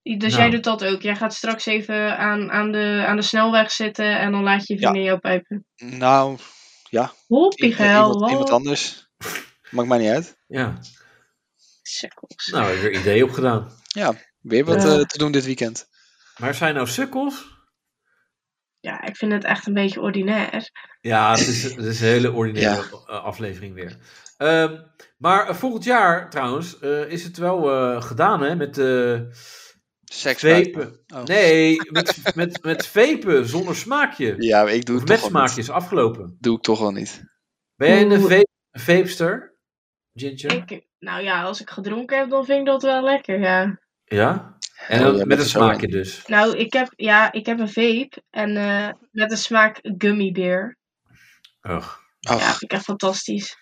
Nou. jij doet dat ook. Jij gaat straks even aan, aan, de, aan de snelweg zitten en dan laat je je vrienden jou pijpen. Nou, Ja. Hoppie geil, iemand, iemand wow. anders. Maakt mij niet uit. Ja, Sukkels. nou, ik heb er ideeën op gedaan. Weer wat Ja. eh, te doen dit weekend. Maar zijn nou sukkels? Ja, ik vind het echt een beetje ordinair. Ja, het is, het is een hele ordinaire eh, aflevering weer. Ehm, maar eh, volgend jaar trouwens eh, is het wel eh, gedaan hè, met eh Seks buiten. vepen. Oh. Nee, met, met, met vepen zonder smaakje. Ja, maar ik doe Of het met toch wel niet. smaakje is afgelopen. Doe ik toch wel niet. Ben jij een Oeh. vape, een vapester, Ginger? Ik, nou ja, als ik gedronken heb, dan vind ik dat wel lekker, ja. Ja? En Oh, dan jij met bent een er zo smaakje in. dus. Nou, ik heb, ja, ik heb een vape en eh, met de smaak gummy beer. Ugh, Ja, Ach, vind ik echt fantastisch.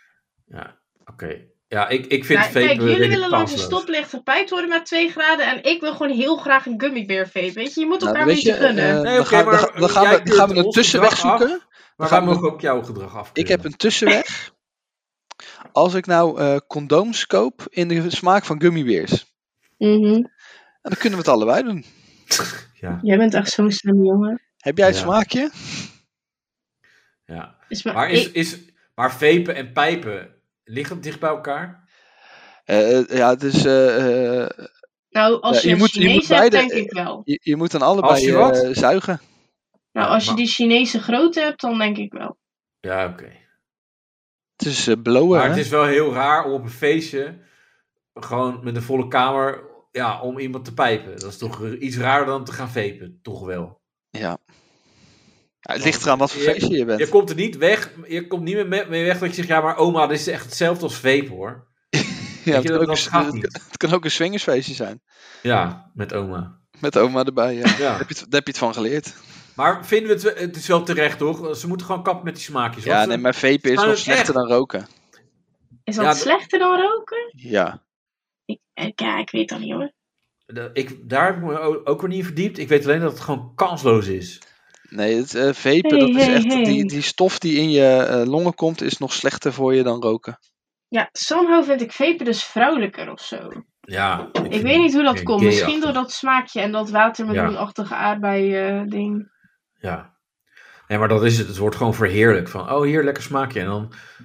ja, oké. Ja, ik, ik vind Nou, vapen kijk, jullie redelijk willen langs de kansloos. stoplicht gepijpt worden met 2 graden en ik wil gewoon heel graag een gummy beer vape. Weet je, je moet nou, elkaar een weet beetje je, gunnen. eh, Nee, dan oké, gaan, maar dan, dan gaan jij we, dan gaan we keurt een ons tussenweg gedrag af. zoeken. Maar gaan wij we- mogen ook jouw gedrag af. Ik heb een tussenweg. Als ik nou eh, condooms koop in de smaak van gummibeers. Mhm. En dan kunnen we het allebei doen. Ja, Jij bent echt zo'n slim jongen. Heb jij het Ja. smaakje? ja. Is maar, Maar, is, ik- is, maar vapen en pijpen, liggen dicht bij elkaar? Eh, eh, ja, het is. eh, eh, nou, als ja, je, je een moet- je Chinees moet hebt, beide- denk ik wel. je, je moet dan allebei Als je wat? eh, zuigen. Nou, Ja, als je maar- die Chinese grote hebt, dan denk ik wel. Ja, oké. Het is eh, blowen. Maar het hè? is wel heel raar om op een feestje, gewoon met een volle kamer, ja, om iemand te pijpen. Dat is toch iets raarder dan te gaan vapen, toch wel. Ja. Ja, het ligt eraan wat voor Je- feestje je bent. Je komt er niet weg, je komt niet meer mee mee weg dat je zegt, ja, maar oma, dit is echt hetzelfde als vapen, hoor. ja, Weet het, je, kan dat, ook dat een, gaat het kan- niet. het kan ook een swingersfeestje zijn. Ja, met oma. Met oma erbij. Ja. Ja. Daar, heb je het, daar heb je het van geleerd. Maar vinden we het, wel- het is wel terecht, toch? Ze moeten gewoon kappen met die smaakjes. Ja, want nee, ze- maar vapen is Maar nog het slechter echt. dan roken. Is Ja, dat d- slechter dan roken? Ja. Ik, eh, ja, ik weet dat niet hoor. de- ik, daar heb ik me o- ook weer niet in verdiept. Ik weet alleen dat het gewoon kansloos is. Nee, het, eh, vapen, Hey, dat is hey, echt. hey. Die, die stof die in je eh, longen komt, is nog slechter voor je dan roken. Ja, somehow vind ik vapen dus vrouwelijker of zo. Ja. Ik weet niet hoe dat komt. Misschien door dat. dat smaakje en dat watermeloenachtige eh, aardbei-ding. Ja. Nee, maar dat is het. Het wordt gewoon verheerlijk. Van, oh, hier, lekker smaakje. En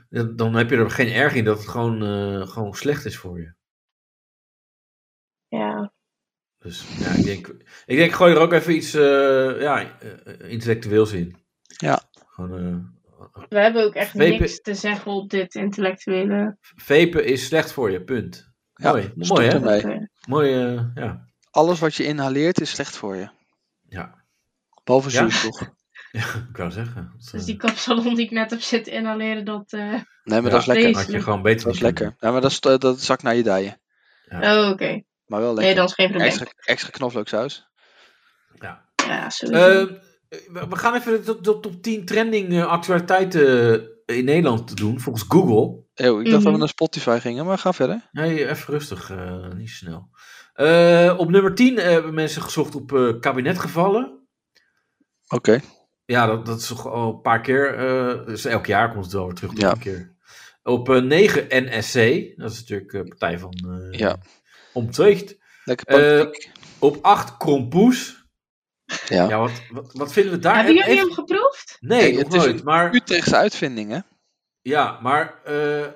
dan, dan heb je er geen erg in dat het gewoon, eh, gewoon slecht is voor je. ja. Dus ja, ik denk, ik denk gooi er ook even iets eh, ja, eh, intellectueels in. Ja. Gewoon, eh, We hebben ook echt Vapen- niks te zeggen op dit intellectuele. vapen is slecht voor je, punt. Ja, mooi, stop mooi hè? ermee. Nee. Oké. Mooi, eh, ja. Alles wat je inhaleert is slecht voor je. Ja. Behalve Ja? zuurstof. Ik wou zeggen. Dat, Dus eh, die kapsalon die ik net heb zitten inhaleren, dat... eh, Nee, maar Ja. dat is lekker. Vlees. had je gewoon beter Dat is moeten lekker. Ja, maar dat, is, eh, dat zakt naar je dijen. Oh, oké. Maar wel Nee, lekker. dan is geen probleem. extra, extra knoflooksaus. Ja, sowieso. Eh, we we gaan even de, de top 10 trending eh, actualiteiten eh, in Nederland doen, volgens Google. Eeuw, ik dacht dat Mhm. we naar Spotify gingen, maar ga verder. Nee, even rustig, eh, niet snel. Eh, op nummer 10 hebben mensen gezocht op eh, kabinetgevallen. Oké. Ja, dat, dat is toch al een paar keer. eh, dus elk jaar komt het wel weer terug. tot Ja. Een keer. Op eh, 9 NSC, dat is natuurlijk eh partij van eh Ja. Omtzigt. Lekker Eh, politiek. Op 8 Krompoes. ja. Ja, wat, wat, wat vinden we daar? Hebben jullie Even- hem geproefd? Nee, Ja, nog het is nooit. Maar, Utrechtse uitvinding, hè? ja, maar... eh, Ik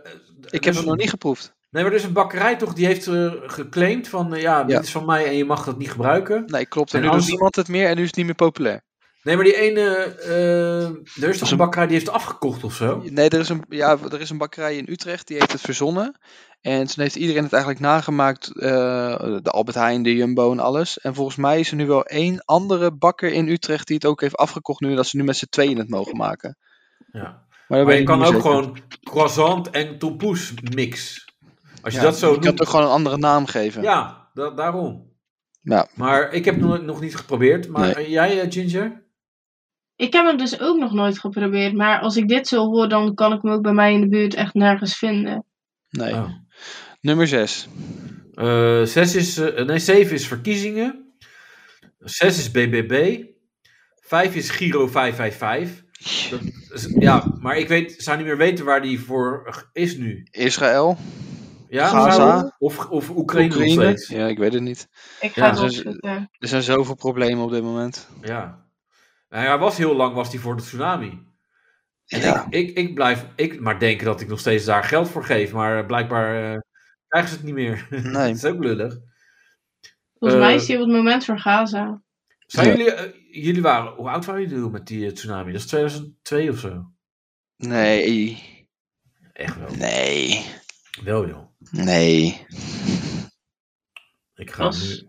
heb dus- hem nog niet geproefd. Nee, maar er is een bakkerij toch, die heeft eh, geclaimd van... eh, ja, dit Ja. is van mij en je mag dat niet gebruiken. Nee, klopt. En, En nu als- doet niemand het meer en nu is het niet meer populair. Nee, maar die ene. eh, er is toch een- een bakkerij die heeft het afgekocht of zo? Nee, er is, een, ja, er is een bakkerij in Utrecht die heeft het verzonnen. En toen heeft iedereen het eigenlijk nagemaakt. eh, de Albert Heijn, de Jumbo en alles. En volgens mij is er nu wel één andere bakker in Utrecht die het ook heeft afgekocht nu. En dat ze nu met z'n tweeën het mogen maken. Ja. Maar, dan Maar je kan ook gewoon croissant en tompoes mix. Als je dat zo Je kan noemt. het ook gewoon een andere naam geven. Ja, da- daarom. Ja. Maar ik heb nog, nog niet geprobeerd. Maar Nee. eh, jij, eh, Ginger? Ik heb hem dus ook nog nooit geprobeerd. Maar als ik dit zo hoor, dan kan ik hem ook bij mij in de buurt echt nergens vinden. Nee. Oh. Nummer 6. Eh, zes is, eh, nee, zeven is verkiezingen. Zes is BBB. Vijf is Giro 555. Dat is- ja, maar ik weet, zou niet meer weten waar die voor is nu. Israël. Ja, Gaza. zou- Of, of Oekraïne, nog steeds. Ja, ik weet het niet. Ik Ja, ga het dus- opzoeken. Er zijn zoveel problemen op dit moment. Ja. Nou ja, hij was heel lang was hij voor de tsunami. En Ja. ik, ik, ik blijf ik maar denken dat ik nog steeds daar geld voor geef. Maar eh, blijkbaar eh, krijgen ze het niet meer. Nee. dat is ook lullig. Volgens Eh, mij is die op het moment voor Gaza. Zijn Ja. jullie, eh, jullie waren, hoe oud waren jullie toen met die eh, tsunami? Dat is 2002 of zo. Nee. Echt wel. Nee. Wel joh. Nee. Ik ga Was- nu.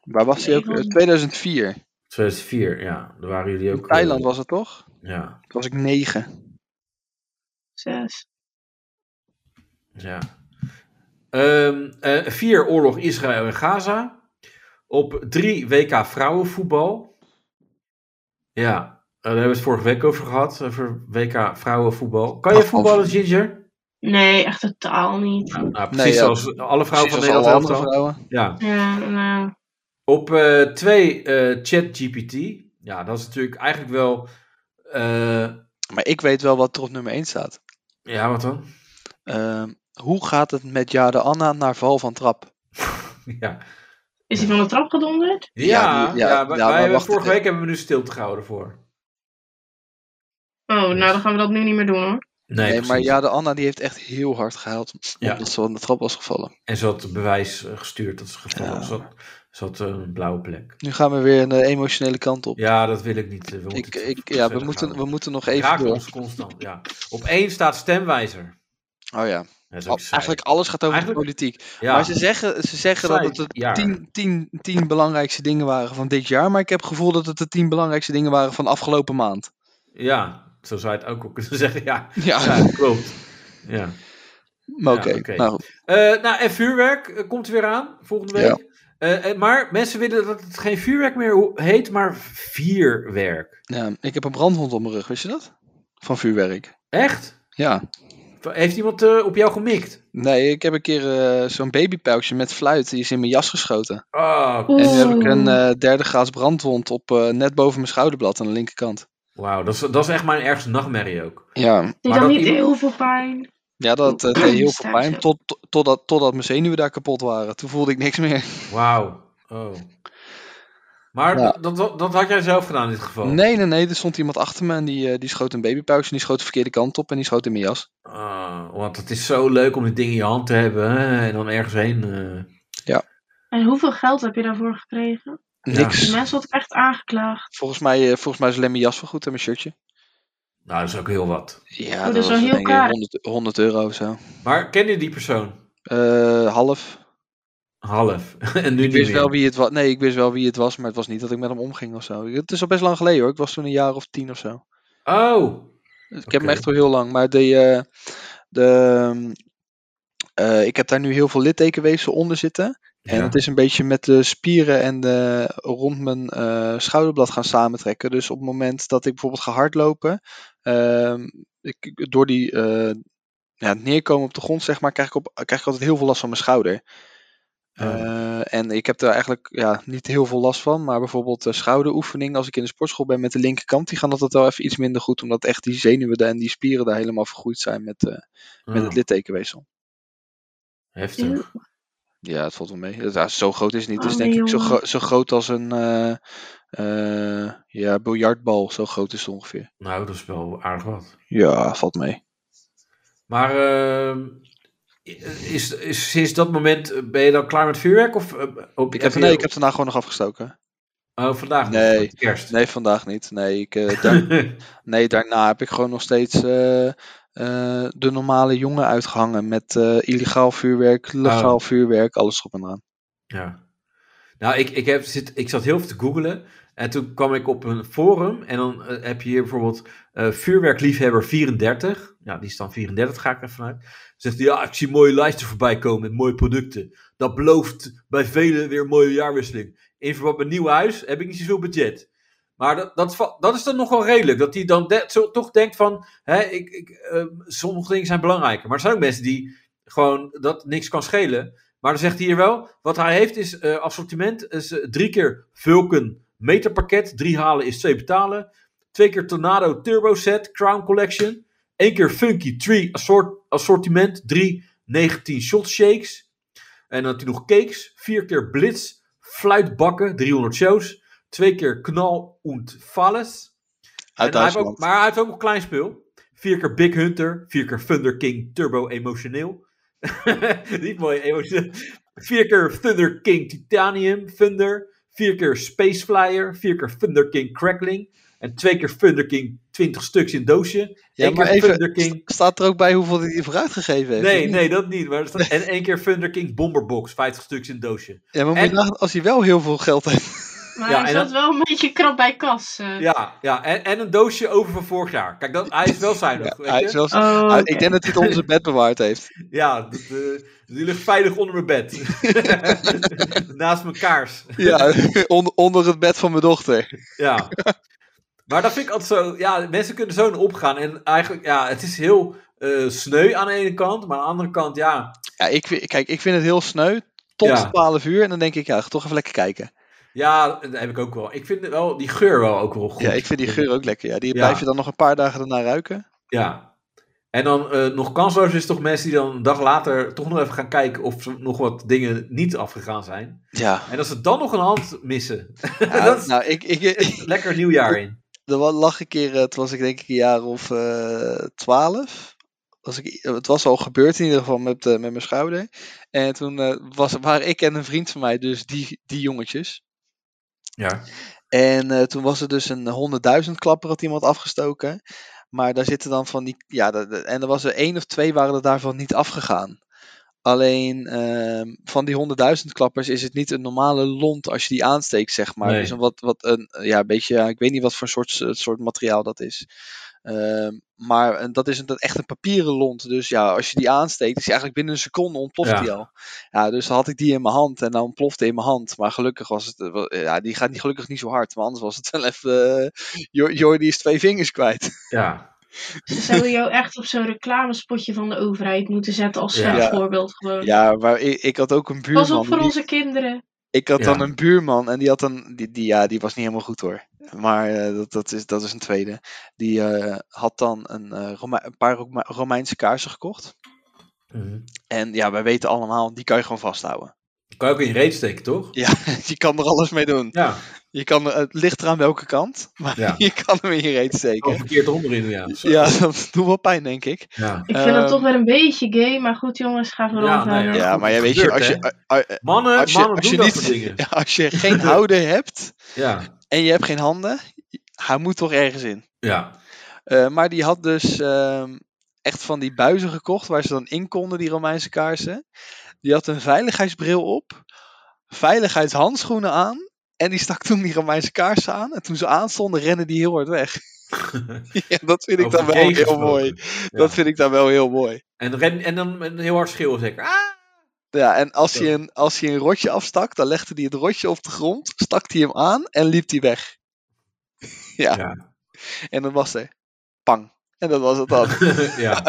Waar was die Nee, ook? man. Eh, 2004. 2004, ja. Daar waren jullie ook. eh, Thailand was het toch? Ja. Toen was ik negen. Zes. ja. Ehm, eh, vier oorlog Israël en Gaza. Op drie WK vrouwenvoetbal. Ja. eh, daar hebben we het vorige week over gehad. Over WK vrouwenvoetbal. Kan je Ach, voetballen, over- Ginger? Nee, echt totaal niet. Nou, nou, precies Nee, ja. zoals alle vrouwen Precies als van alle Nederland. andere elftal. vrouwen. Ja. Ja, nou, Op eh, twee, eh, ChatGPT. Ja, dat is natuurlijk eigenlijk wel. eh, Maar ik weet wel wat er op nummer 1 staat. ja, wat dan? Ehm, hoe gaat het met Jade Anna naar val van trap? Ja, is hij van de trap gedonderd? ja, Ja, ja, die- ja, wij, ja, wij maar hebben wacht eh, vorige even. week hebben we nu stilte gehouden voor. Oh, nou dan gaan we dat nu niet meer doen hoor. Nee, Nee, maar precies. Jade Anna die heeft echt heel hard gehuild. Ja. Omdat ze van de trap was gevallen. En ze had bewijs eh, gestuurd dat ze gevallen Ja. was. Ze had- Ze had eh, een blauwe plek. Nu gaan we weer een emotionele kant op. Ja, dat wil ik niet. eh, We moeten ik, het ik, ja, verder we, moeten, gaan. we moeten nog even Raakt door. ons constant, ja. Op één staat stemwijzer. Oh ja. Dat is ook Al- saai. eigenlijk alles gaat over de Eigenlijk- politiek. ja. Maar ze zeggen, ze zeggen dat Saai het de jaar. tien, tien, tien belangrijkste dingen waren van dit jaar. Maar ik heb het gevoel dat het de tien belangrijkste dingen waren van afgelopen maand. ja, zo zou je het ook wel kunnen zeggen. Ja, Ja, ja klopt. Ja. maar oké. Ja, oké. Nou, Eh, nou, en vuurwerk eh, komt weer aan volgende week. Ja. Eh, eh, maar mensen willen dat het geen vuurwerk meer ho- heet, maar vierwerk. ja, ik heb een brandwond op mijn rug, wist je dat? Van vuurwerk. Echt? Ja. Heeft iemand eh, op jou gemikt? Nee, ik heb een keer eh, zo'n babypijltje met fluit. Die is in mijn jas geschoten. Oh, En toen heb ik Oeh. een eh, derde graads brandwond op eh, net boven mijn schouderblad aan de linkerkant. wauw, dat is, dat is echt mijn ergste nachtmerrie ook. Ja, Deed Maar dat dat niet iemand- heel veel pijn? ja dat eh, deed heel veel Staat pijn. zo. Tot, tot- totdat, totdat mijn zenuwen daar kapot waren. Toen voelde ik niks meer. Wauw. Oh. Maar Ja. dat, dat, dat had jij zelf gedaan in dit geval? Nee, nee, nee. Er stond iemand achter me en die, eh, die schoot een babypauze. En die schoot de verkeerde kant op en die schoot in mijn jas. Ah, want het is zo leuk om dit ding in je hand te hebben hè, en dan ergens heen. eh. En hoeveel geld heb je daarvoor gekregen? Ja. Niks. Die mensen hadden echt aangeklaagd. Volgens, mij, eh, volgens mij is alleen mijn jas vergoed en mijn shirtje. Nou, dat is ook heel wat. Ja, Oh, dat is wel was heel denk ik karig. 100, 100 euro of zo. Maar ken je die persoon? Eh, half. Half. en nu Ik niet wist meer. wel wie het was. Nee, ik wist wel wie het was, maar het was niet dat ik met hem omging of zo. Het is al best lang geleden hoor. Ik was toen een jaar of tien of zo. Oh, Dus ik heb hem Oké. echt al heel lang. Maar de, eh, de, ehm, eh, ik heb daar nu heel veel littekenweefsel onder zitten. En Ja. het is een beetje met de spieren en de, rond mijn eh, schouderblad gaan samentrekken. Dus op het moment dat ik bijvoorbeeld ga hardlopen, ehm, ik, ik- door die eh, ja, het neerkomen op de grond, zeg maar, krijg ik, op, krijg ik altijd heel veel last van mijn schouder. Oh. Eh, en ik heb er eigenlijk ja, niet heel veel last van. Maar bijvoorbeeld eh, schouderoefening, als ik in de sportschool ben met de linkerkant, die gaan dat wel even iets minder goed. Omdat echt die zenuwen daar en die spieren daar helemaal vergroeid zijn met, eh, met Oh, het littekenweefsel. Heftig. Ja, het valt wel mee. Ja, zo groot is het niet. Het is Oh, denk ik zo, jongen. gro- zo groot als een eh, eh, ja, biljartbal. Zo groot is het ongeveer. Nou, dat is wel aardig wat. Ja, valt mee. Maar ehm, is, is sinds dat moment eh, ben je dan klaar met vuurwerk? Of, eh, op, Ik heb, je- nee, ik heb daarna gewoon nog afgestoken. Oh, vandaag nog, Nee. met kerst. Nee, vandaag niet. Nee, ik, eh, daar- nee daarna heb ik gewoon nog steeds eh, eh, de normale jongen uitgehangen. Met eh, illegaal vuurwerk, Oh. legaal vuurwerk, alles erop en aan. ja. Nou, ik, ik, heb, zit, ik zat heel veel te googelen. En toen kwam ik op een forum. En dan eh, heb je hier bijvoorbeeld eh, vuurwerkliefhebber 34. Ja, die is dan 34, ga ik ervan uit. Zegt hij, ja, ik zie mooie lijsten voorbij komen met mooie producten. Dat belooft bij velen weer een mooie jaarwisseling. In verband met een nieuw huis heb ik niet zoveel budget. Maar dat, dat, va- dat is dan nog wel redelijk. Dat hij dan de- zo, toch denkt van, hè, ik, ik, ehm, sommige dingen zijn belangrijker. Maar er zijn ook mensen die gewoon dat niks kan schelen. Maar dan zegt hij hier wel, wat hij heeft is eh, assortiment. Is, eh, drie keer Vulcan meterpakket. Drie halen is twee betalen. Twee keer Tornado Turbo Set Crown Collection. Eén keer Funky Tree assort, assortiment. Drie 19 shot shakes. En dan had hij nog cakes. Vier keer Blitz fluitbakken. 300 shows. Twee keer Knal und Falles. Uit En hij heeft Duitsland. ook, maar hij heeft ook een klein spul. Vier keer Big Hunter. Vier keer Thunder King Turbo Emotioneel. Niet mooi emotioneel. Vier keer Thunder King Titanium Thunder. Vier keer Space Flyer. Vier keer Thunder King Crackling. En twee keer Thunder King 20 stuks in doosje. Ja, Eén maar keer even, Thunder King sta- staat er ook bij hoeveel hij ervoor uitgegeven heeft? Nee, nee, dat niet. Maar er staat- en één keer Thunder King Bomberbox, 50 stuks in een doosje. Ja, maar moet je En- nagaan, als hij wel heel veel geld heeft. Maar Ja, hij en zat dat- wel een beetje krap bij kas. eh. Ja, ja en, en een doosje over van vorig jaar. Kijk, dat, hij is wel zuinig. Ja, weet hij je? is wel zo- Oh, hij- oké. Ah, Ik denk dat hij het onder zijn bed bewaard heeft. Ja, dat, eh, die ligt veilig onder mijn bed. Naast mijn kaars. Ja, on- onder het bed van mijn dochter. Ja. Maar dat vind ik altijd zo. Ja, mensen kunnen zo in opgaan. En eigenlijk, ja, het is heel eh, sneu aan de ene kant. Maar aan de andere kant, ja. Ja, ik, vi- kijk, ik vind het heel sneu. Tot Ja. 12 uur. En dan denk ik, ja, ga toch even lekker kijken. Ja, dat heb ik ook wel. Ik vind wel die geur wel ook wel goed. Ja, ik vind die geur ook lekker. Ja, die Ja. blijf je dan nog een paar dagen daarna ruiken. Ja. En dan eh, nog kansloos is toch mensen die dan een dag later toch nog even gaan kijken of ze nog wat dingen niet afgegaan zijn. Ja. En dat ze dan nog een hand missen. Ja, Dat is- Nou, ik, ik, Lekker nieuwjaar in. er wa- lag een keer, eh, toen was ik denk ik een jaar of eh, twaalf. ik, het was al gebeurd in ieder geval met, eh, met mijn schouder. En toen eh, was, waren ik en een vriend van mij, dus die, die jongetjes. Ja. En eh, toen was er dus een honderdduizend klapper had iemand afgestoken. Maar daar zitten dan van die, ja, da- da- en er was er één of twee waren er daarvan niet afgegaan. Alleen ehm, van die honderdduizend klappers is het niet een normale lont als je die aansteekt, zeg maar. Nee. Dus een wat, wat een, ja, een beetje, ja, ik weet niet wat voor soort, eh, soort materiaal dat is. Ehm, maar eh, dat is een, dat echt een papieren lont. Dus ja, als je die aansteekt, is die eigenlijk binnen een seconde ontploft Ja. die al. Ja, dus dan had ik die in mijn hand en dan ontplofte in mijn hand. Maar gelukkig was het, eh, wa- ja, die gaat niet, gelukkig niet zo hard. Maar anders was het wel even, eh, Jor- Jordi is twee vingers kwijt. Ja. Ze zouden jou echt op zo'n reclamespotje van de overheid moeten zetten als Ja. voorbeeld gewoon. Ja, maar ik, ik had ook een buurman. Pas op voor die- onze kinderen. Ik had dan Ja. een buurman en die had dan, die, die, ja, die was niet helemaal goed hoor. Maar eh, dat, dat, is, dat is een tweede. Die eh, had dan een, eh, Roma- een paar Roma- Romeinse kaarsen gekocht. En ja, wij weten allemaal, die kan je gewoon vasthouden. Kan je ook in je reet steken, toch? Ja, je kan er alles mee doen. Ja. Je kan, er- het ligt eraan welke kant, maar Ja. Oh, je kan hem in je reet Al steken. verkeerd onderin, ja. Ja, dat doet wel pijn, denk ik. ja. Ik vind dat Ehm. toch wel een beetje gay, maar goed jongens, ga vooral Ja, ja, nee, Ja, goed, maar het ja, weet je, gebeurt, als je, a- a- Mannen, als je, mannen als je doen dat soort niet, dingen. ja, als je geen houden hebt Ja. en je hebt geen handen, hij moet toch ergens in. Ja. Eh, maar die had dus ehm, echt van die buizen gekocht waar ze dan in konden, die Romeinse kaarsen. Die had een veiligheidsbril op, veiligheidshandschoenen aan. En die stak toen die Romeinse kaarsen aan. En toen ze aanstonden, rennen die heel hard weg. ja, dat vind ik Over dan wel gay heel gesproken. mooi. Ja. Dat vind ik dan wel heel mooi. En, ren, en dan een heel hard schreeuwen zeker. Ah! Ja, en als Ja. hij, een, als hij een rotje afstak, dan legde hij het rotje op de grond, stak hij hem aan en liep hij weg. ja. Ja. En dan was er. Pang. En dat was het dan. ja.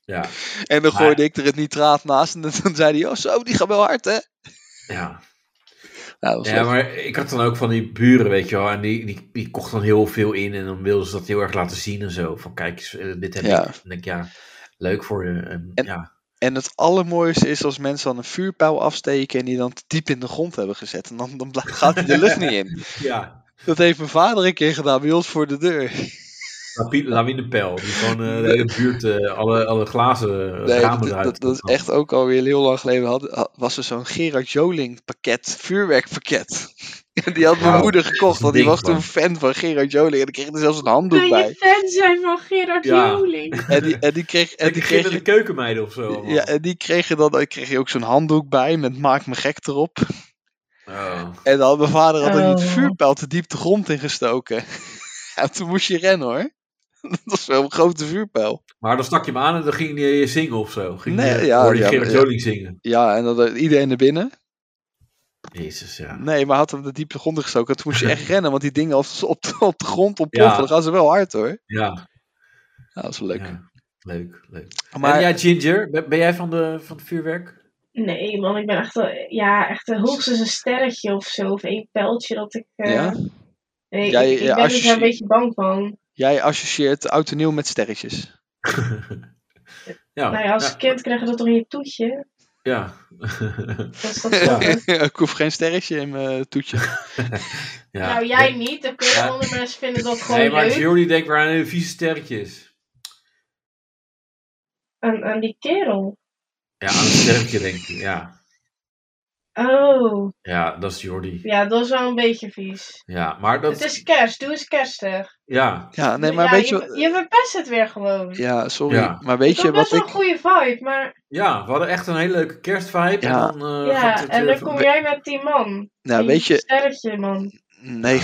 Ja. En dan Maar- gooide ik er het nitraat naast en dan zei hij, oh zo, die gaat wel hard hè. Ja. Nou, dat was Ja, leuk. maar ik had dan ook van die buren, weet je wel. En die, die, die kocht dan heel veel in. En dan wilden ze dat heel erg laten zien en zo. Van kijk, eens, eh, dit heb Ja. ik. En dan denk ik, ja, leuk voor je. En, En- ja, En het allermooiste is als mensen dan een vuurpijl afsteken en die dan te diep in de grond hebben gezet. En dan, dan bla- gaat hij de lucht niet in. ja. Dat heeft mijn vader een keer gedaan bij ons voor de deur. Lapi- Lawinepijl. Die gewoon eh, de hele buurt, eh, alle, alle glazen eh, Nee, ramen dat, eruit. dat, dat is echt ook alweer heel lang geleden. Had, had- was er zo'n Gerard Joling pakket, vuurwerkpakket. En die had mijn Wauw, moeder gekocht, want die ding was toen gewoon. fan van Gerard Joling. En die kreeg er zelfs een handdoek Kun je bij. fan zijn van Gerard Ja. Joling? En die, en die kreeg... En En die die kreeg gingen de keukenmeiden of zo. allemaal. ja, en die kregen dan ik kreeg je ook zo'n handdoek bij met maak me gek erop. Oh. En dan had mijn vader had een Oh. vuurpijl te diep de grond ingestoken. Ja, toen moest je rennen hoor. Dat was wel een grote vuurpijl. Maar dan stak je hem aan en dan ging hij eh, zingen of zo. Ging Nee, hij, eh, ja, hoorde je ja, Gerard ja. Joling zingen. Ja, en dan had iedereen naar binnen. Jezus, ja. Nee, maar had hem de diep de grond ingestoken. Toen moest je echt rennen, want die dingen als ze op de, op de grond ontploffen, Ja. dan gaan ze wel hard hoor. Ja, Ja, dat is leuk. ja. Leuk, leuk. Maar En jij, Ginger, ben, ben jij van, de, van het vuurwerk? Nee man, ik ben echt, eh, ja, echt eh, hoogstens een sterretje of zo. Of één pijltje dat ik... eh, Ja? Nee, Jij, ik, ik eh, ben er associe- daar een beetje bang van. jij associeert oud en nieuw met sterretjes. Ja, nou ja, als ja, kind krijg je dat toch in je toetje? Ja. Dat is dat Ja. toch, hè? ik hoef geen sterretje in mijn toetje. ja. Nou, jij niet. Dan kunnen Ja. andere mensen vinden dat gewoon Nee, maar leuk. Jordi denkt waar een vieze sterretjes. aan, aan die kerel. Ja, aan het sterretje denk ik. Ja. Oh, ja, dat is Jordi. ja, dat is wel een beetje vies. Ja, maar dat... Het is kerst, doe eens kerstig. Ja, Ja, nee, Ja, maar weet je... je... Je verpest het weer gewoon. Ja, sorry. Ja. Maar weet Het je was best wat wel een ik... goede vibe, maar ja, we hadden echt een hele leuke kerstvibe. Ja. En dan, eh, gaat ja, het, en eh, dan kom jij met die man. Nou, die weet je... Sterretje man. Nee,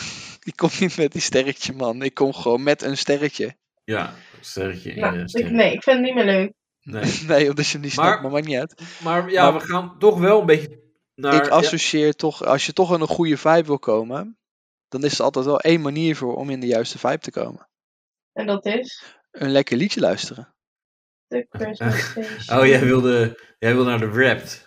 ik kom niet met die sterretje, man. Ik kom gewoon met een sterretje. Ja, sterretje. in Nou, je ik- sterretje. nee, ik vind het niet meer leuk. Nee. Nee, omdat je hem niet Maar- snapt, maar maakt niet uit. Maar ja, Maar- we gaan toch wel een beetje naar... ik associeer toch... Als je toch in een goede vibe wil komen... Dan is er altijd wel één manier voor om in de juiste vibe te komen. En dat is Een lekker liedje luisteren. de Christmas Station. ja. Oh, jij wilde, jij wilde naar de Wrapped.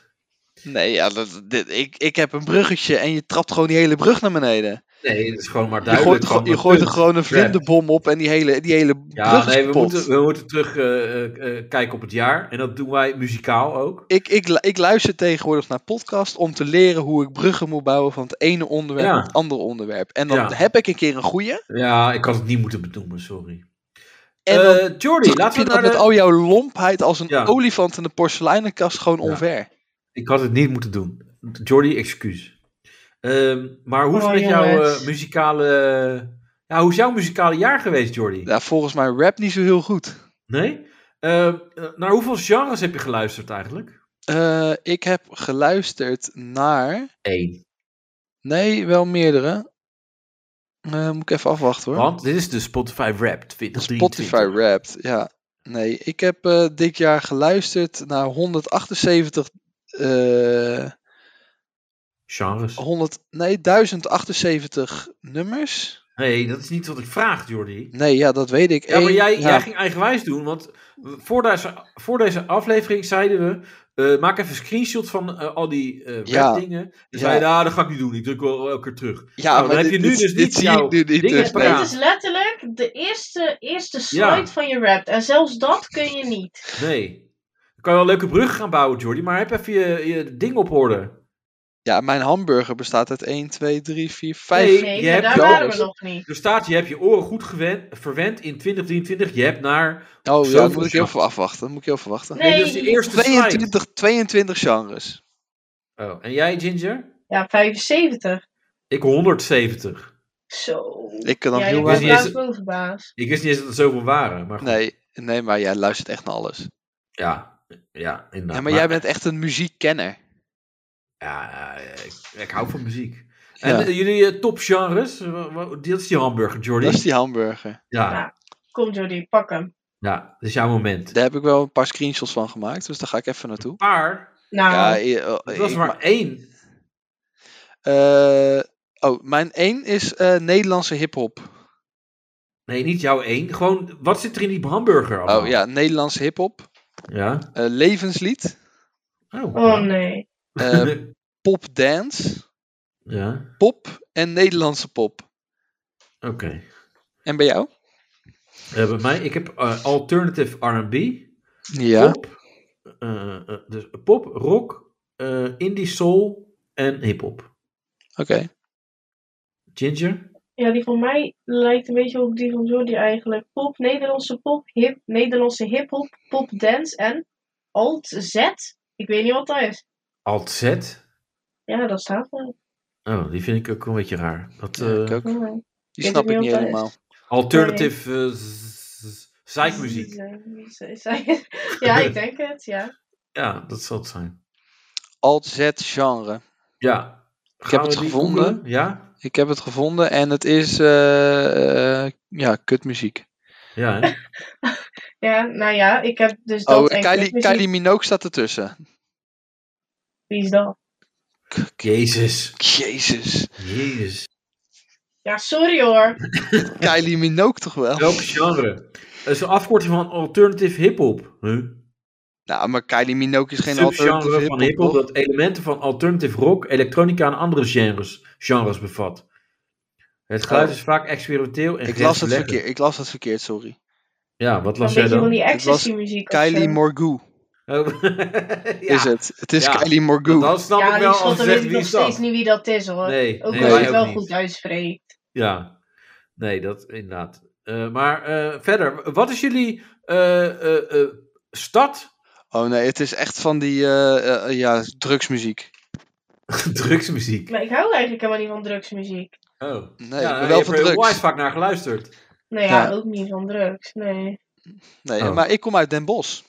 Nee, ja, dat, dit, ik, ik heb een bruggetje en je trapt gewoon die hele brug naar beneden. Nee, dat is gewoon maar Je duidelijk. gooit, gewoon gewoon- je dat gooit er punt. gewoon een vlinderbom op en die hele, die hele brug Ja, is nee, we kapot. moeten, we moeten terug eh, eh, eh, kijken op het jaar. En dat doen wij muzikaal ook. ik, ik, lu- ik luister tegenwoordig naar podcast om te leren hoe ik bruggen moet bouwen van het ene onderwerp Ja. naar het andere onderwerp. En dan Ja. heb ik een keer een goeie. Ja, ik had het niet moeten benoemen, sorry. En Eh, dan Jordi, trap laten je we dat naar met de... al jouw lompheid als een Ja. olifant in de porseleinenkast gewoon Ja. onver. Ik had het niet moeten doen. Jordi, excuus. Ehm, maar hoe is het Oh, met jouw jongens. eh, muzikale... Ja, hoe is jouw muzikale jaar geweest, Jordi? Ja, volgens mij rap niet zo heel goed. Nee? Ehm, eh, naar hoeveel genres heb je geluisterd eigenlijk? Eh, ik heb geluisterd naar... Eén. Nee, wel meerdere. Eh, moet ik even afwachten hoor. Want dit is de Spotify Rap 2023. Spotify Wrapped, ja. Nee, ik heb eh, dit jaar geluisterd naar 178... eh, Genres. 100, nee, 1078 nummers. Nee, dat is niet wat ik vraag, Jordi. Nee, ja, dat weet ik. Ja, maar Eén- jij, ja, jij ging eigenwijs doen, want voor deze, voor deze aflevering zeiden we, eh, maak even een screenshot van eh, al die eh Ja. webdingen. En Ja. zei je, nou, dat ga ik niet doen, ik druk wel elke keer terug. ja, Nou, maar dan heb dit- je nu dit- dus dit niet zie jouw ik nu niet. dingen Dus, paraat. nee. Dit is letterlijk de eerste, eerste slide Ja. van je rap. En zelfs dat kun je niet. Nee. Dan kan je wel een leuke brug gaan bouwen, Jordi, maar heb even je, je ding op orde. Ja, mijn hamburger bestaat uit 1, 2, 3, 4, 5. Nee, Nee, je maar hebt daar wel waren we eens- nog niet. Er staat, je hebt je oren goed gewend, verwend in 2023, je hebt naar... oh ja, zoveel dan moet ik heel genres. veel afwachten. Dan moet ik heel veel wachten. Nee. Nee, dus de eerste slide. 22, 22 genres. Oh, en jij, Ginger? Ja, 75. Ik 170. Zo. Ik kan dan ja, heel je weinig- bent trouwens bovenbaas. Ik wist niet eens dat er zoveel waren, maar goed. Nee, nee, maar jij luistert echt naar alles. Ja, ja, inderdaad. Ja, maar jij bent echt een muziekkenner. Ja, eh, ik, ik hou van muziek. Ja. En eh, jullie eh, topgenres, wa- wa- dat is die hamburger, Jordy. Dat is die hamburger. Ja, Ja. Kom Jordi, pak hem. ja, dat is jouw moment. Daar heb ik wel een paar screenshots van gemaakt, dus daar ga ik even naartoe. Maar, Nou, Ja, eh, dat eh, was ik maar ma- één. Eh, oh, mijn één is eh, Nederlandse hip-hop. Oh, Nee, niet jouw één. Gewoon, wat zit er in die hamburger allemaal? Oh ja, Nederlandse hip-hop. Ja? Eh, levenslied. Oh, oh ja. nee. Eh pop dance. ja, Pop en Nederlandse pop. oké. En bij jou? Eh, bij mij, ik heb eh, alternative R&B, Ja. pop, eh, eh, dus pop, rock, eh, indie soul en hiphop. Oké. Ginger? Ja, die van mij lijkt een beetje op die van Jordi eigenlijk. Pop, Nederlandse pop, hip, Nederlandse hip-hop, pop dance en alt Z. Ik weet niet wat dat is. Alt Z? Ja, dat staat wel. Oh, die vind ik ook wel een beetje raar. Dat, Ja, eh, ik ook. Ja. Die weet snap ook ik niet niet wat dat helemaal. Alternative eh, z- z- Z- zeikmuziek. z- z- Dus, eh, Ja, ik denk het, ja. Ja, dat zal het zijn. Alt-Z-genre. Ja. heb Gaan we het die gevonden. googlen? Ja? Ik heb het gevonden en het is... eh, eh, ja, kutmuziek. Ja, hè? Ja, nou ja, ik heb dus dat Oh, en Kylie, kutmuziek. Kylie Minogue staat ertussen. Wie is dat? Jezus. Jezus. Jezus. Ja, sorry hoor. Kylie Minogue toch wel? Welk genre? Dat is een afkorting van alternative hip-hop. Huh? Nou, maar Kylie Minogue is geen alternatieve Subgenre van hip-hop. hip-hop toch? dat elementen van alternative rock, elektronica en andere genres, genres bevat. Het geluid Oh. is vaak experimenteel en Ik las, het grensverleggend. verkeerd, ik las het verkeerd, sorry. Ja, wat Een las jij beetje van dan? die was ecstasy muziek. Kylie Morgou Oh, eh, ja, is het. Het is Ja. Kylie Morgou. Dan snap Ja, ik die wel als je schotten zegt weet ik wie nog is dat. steeds niet wie dat is hoor. Nee, Ook nee, al wij je het wel niet. goed uitspreekt. Ja, nee, dat inderdaad. Eh, maar eh, verder, wat is jullie eh, eh, eh, stad. Oh nee, het is echt van die eh, eh, ja, drugsmuziek. Drugsmuziek. Maar ik hou eigenlijk helemaal niet van drugsmuziek. Oh. Nee, ja, wel je hebt van er drugs. onwijs vaak naar geluisterd. Nou ja, Ja. ook niet van drugs. Nee. Nee, Oh. maar ik kom uit Den Bosch.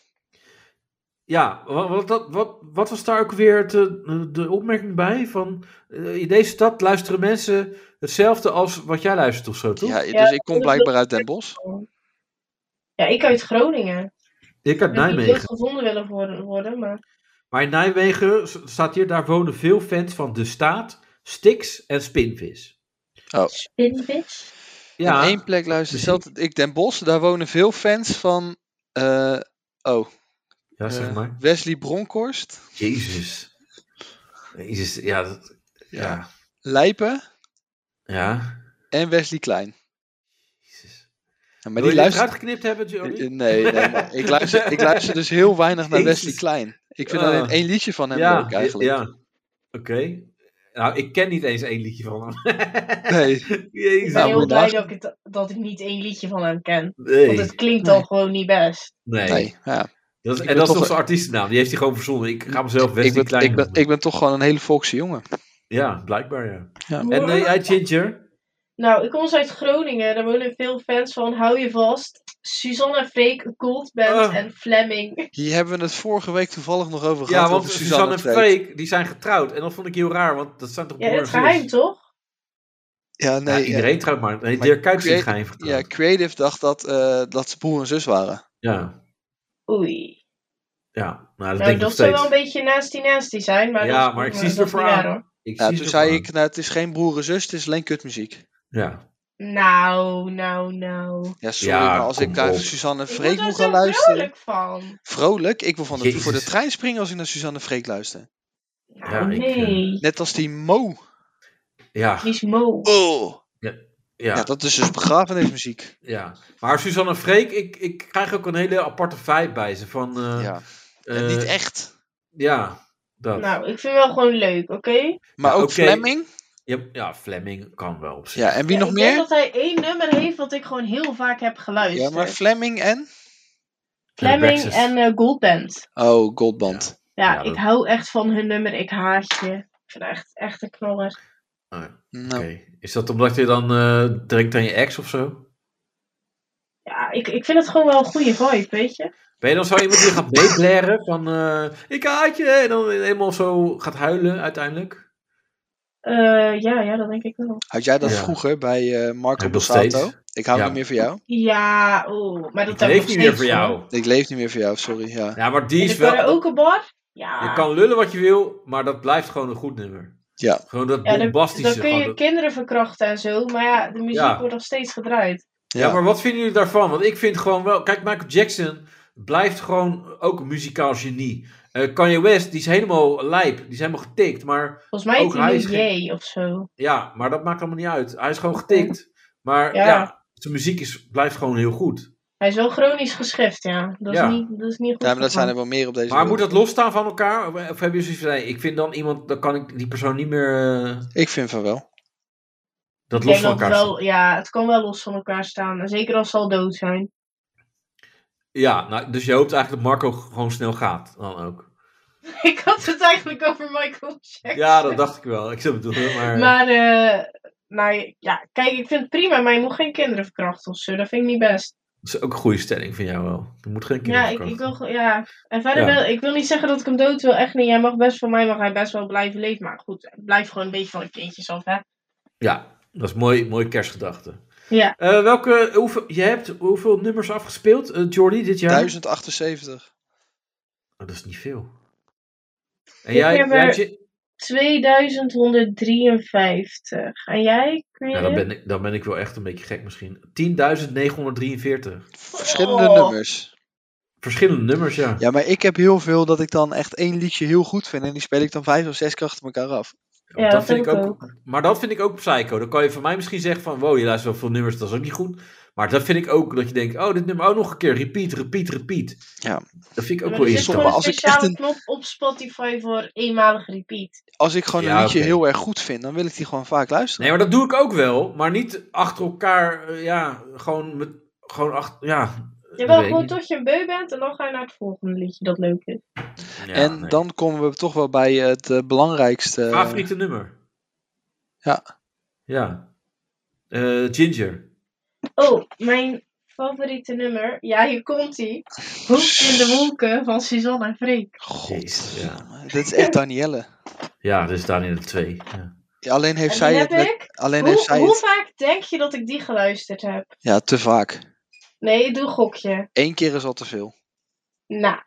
Ja, wat, wat, dat- wat, wat was daar ook weer de, de opmerking bij? Van, eh, in deze stad luisteren mensen hetzelfde als wat jij luistert of zo, toch? Ja, Ja, dus ik kom dat- blijkbaar uit Den Bosch. Ja, ik uit Groningen. Ik uit Ik heb niet Nijmegen. gevonden willen worden, worden, maar... Maar in Nijmegen s- staat hier, daar wonen veel fans van De Staat, Stix en Spinvis. Spinvis? In Ja, één plek luister Muziek. zelf ik Den Bosch. Daar wonen veel fans van eh, oh, ja zeg eh, maar. Wesley Bronkhorst, Jezus. Jezus, ja. dat- ja. Lijpen ja. en Wesley Klein. Jezus. Ja, Wil Maar je die dit luistert... eruit geknipt hebben, Eh, Johnny? eh, Nee, nee maar ik, luister, ik luister dus heel weinig naar Jezus. Wesley Klein. Ik vind Ah. alleen één liedje van hem ja, leuk eigenlijk. ja. Oké. Nou, ik ken niet eens één liedje van hem. Nee, Ik Jezus. ben Nou, heel moet je blij dat ik, luisteren. het, dat ik niet één liedje van hem ken. nee. Want het klinkt Nee. al gewoon niet best. nee. nee. Ja. Dat is, Ik en ben dat is toch nog een- zijn artiestennaam. Die heeft hij gewoon verzonnen. Ik ga mezelf Ik, Wesley ben, Klein ik, ben, noemen. ik ben toch gewoon een hele volkse jongen. Ja, blijkbaar ja. Ja. En nee, jij Ginger? Nou, ik kom dus uit Groningen. Daar wonen veel fans van Hou Je Vast, Susanna Freek, Cold Band Ah. en Fleming. Hier hebben we het vorige week toevallig nog over gehad. Ja, want over Suzanne en Freek. Freek, die zijn getrouwd. En dat vond ik heel raar, want dat zijn toch Ja, het broers en geheim zus? toch? Ja, Ja, nee, ja, iedereen trouwt maar. Nee, Maar Dirk Kuyt is in het Freek- geheim ja, getrouwd. Creative dacht dat, eh, dat ze broer en zus waren. Ja, Oei. ja. Nou, dat Nou, denk ik nog dat zou wel steeds. een beetje nasty nasty zijn, maar... Ja, dat is- maar ik dat zie ze is niet ervoor raar, aan. hoor. Ik Ja, zie toen het zei ervan. ik, nou, het is geen broer en zus, het is alleen kutmuziek. Ja. Nou, nou, nou. Ja, sorry, Ja, maar als kom ik naar op. Suzanne en Ik word Freek er moet gaan zo luisteren... vrolijk van. Vrolijk? Ik wil van de, Jezus. voor de trein springen als ik naar Suzanne en Freek luister. Nou, Ja, ik, eh, nee. Net als die Mo. Ja, Die is mo. Oh. Ja. ja, dat is dus begrafenismuziek. ja. Maar Suzanne en Freek, ik, ik krijg ook een hele aparte vibe bij ze. Van, eh, ja. eh, Niet echt. Ja, dat. Nou, ik vind wel gewoon leuk, oké? Maar ja, ook oké. Fleming. Ja, ja, Fleming kan wel op zich. Ja, en wie Ja, nog ik meer? denk dat hij één nummer heeft wat ik gewoon heel vaak heb Ja, geluisterd. maar Fleming en? Fleming Backstreet. en eh, Goldband. Oh, Goldband. Ja, Ja, ik dat- hou echt van hun nummer. Ik haat je. Ik vind het echt, echt een knaller. Ah, Oké. Nou, Is dat omdat je dan eh denkt aan je ex of zo? Ja, ik, ik vind het gewoon wel een goede vibe, weet je? Ben je dan zo iemand die gaat meeblaren van eh, ik haat je en dan helemaal zo gaat huilen uiteindelijk? Eh, ja, ja, dat denk ik wel. had jij dat Ja. vroeger bij eh, Marco Heb ik nog steeds. Borsato? Ik hou Ja. niet meer van jou. Ja, oeh. Maar dat Ik heb ik leef nog niet meer steeds, voor hoor. jou. Ik leef niet meer van jou, sorry. Ja, Ja, maar die In is de wel. karaokebar? Ja. Je kan lullen wat je wil, maar dat blijft gewoon een goed nummer. Ja. Gewoon dat Ja, dan- bombastische. Dan kun gewoon je dat- kinderen verkrachten en zo, maar ja, de muziek Ja. wordt nog steeds gedraaid. Ja, maar wat vinden jullie daarvan? Want ik vind gewoon wel. Kijk, Michael Jackson blijft gewoon ook een muzikaal genie. Eh, Kanye West, die is helemaal lijp, die is helemaal getikt. Maar Volgens mij Ook heet hij hij is geen- J of zo. ja, maar dat maakt allemaal niet uit. Hij is gewoon getikt. Maar ja, Ja. zijn muziek is, blijft gewoon heel goed. Hij is wel chronisch geschift, ja. Dat is, Ja. Niet, Niet, dat is niet goed. Ja, maar dat voor zijn hem. er wel meer op deze maar moet wereld. dat losstaan van elkaar? Of, of hebben jullie zoiets van, nee, ik vind dan iemand, dan kan ik die persoon niet meer eh, Ik vind van wel. dat Ik los denk van dat elkaar wel, staan? ja, het kan wel los van elkaar staan. En zeker als ze al dood zijn. Ja, nou, dus je hoopt eigenlijk dat Marco gewoon snel gaat dan ook. ik had het eigenlijk over Michael Jackson. Ja, dat dacht ik wel. Ik zou het bedoelen, maar... Maar, eh, nou ja, kijk, ik vind het prima, maar je moet geen kinderen verkrachten of zo. Dat vind ik niet best. Dat is ook een goede stelling van jou wel. Er moet geen kinderen Ja, ik, ik verkrachten. wil, ge- ja. En verder Ja. wil ik wil niet zeggen dat ik hem dood wil, echt niet. Hij mag best, voor mij mag hij best wel blijven leven. Maar goed, eh, blijf gewoon een beetje van de kindjes af, hè. Ja, dat is mooi, mooi kerstgedachte. Ja. Eh, welke, hoeveel, je hebt hoeveel nummers afgespeeld, eh, Jordi, dit jaar? 1078. Oh, dat is niet veel. En Ik jij, heb jij er- Gi- 2153. En jij, ja, Creative? dan, ben ik, dan ben ik wel echt een beetje gek misschien. 10.943. Verschillende Oh. nummers. Verschillende nummers, ja. Ja, maar ik heb heel veel dat ik dan echt één liedje heel goed vind. En die speel ik dan vijf of zes keer achter elkaar af. Ja, dat heb ik Maar dat vind ik ook psycho. Dan kan je van mij misschien zeggen van... Wow, je luistert wel veel nummers, dat is ook niet goed. Maar dat vind ik ook dat je denkt... Oh, dit nummer ook nog een keer. Repeat, repeat, repeat. Ja. Dat vind ik ook Maar wel er zit irritant. gewoon Maar een irritant. als ik speciale echt een- knop op Spotify voor eenmalig repeat. Als ik gewoon Ja, een liedje oké. heel erg goed vind, dan wil ik die gewoon vaak luisteren. Nee, maar dat doe ik ook wel. Maar niet achter elkaar... eh, ja, gewoon met... Gewoon achter... Ja, Jawel, weet gewoon ik tot je een beu bent en dan ga je naar het volgende liedje dat leuk is. niet. Ja, en nee. dan komen we toch wel bij het eh, belangrijkste. Favoriete nummer? ja. Ja. Eh, Ginger. Oh, mijn favoriete nummer. Ja, hier komt ie. Hoofd in de wolken van Suzanne en Freek. God. Jezus, Dit is echt Danielle. Ja, dus daar in de twee. Ja. Ja, alleen heeft en zij die het. heb met- ik. alleen heeft Hoe, zij hoe het. vaak denk je dat ik die geluisterd heb? Ja, te vaak. Nee, ik doe een gokje. Eén keer is al te veel. Nou.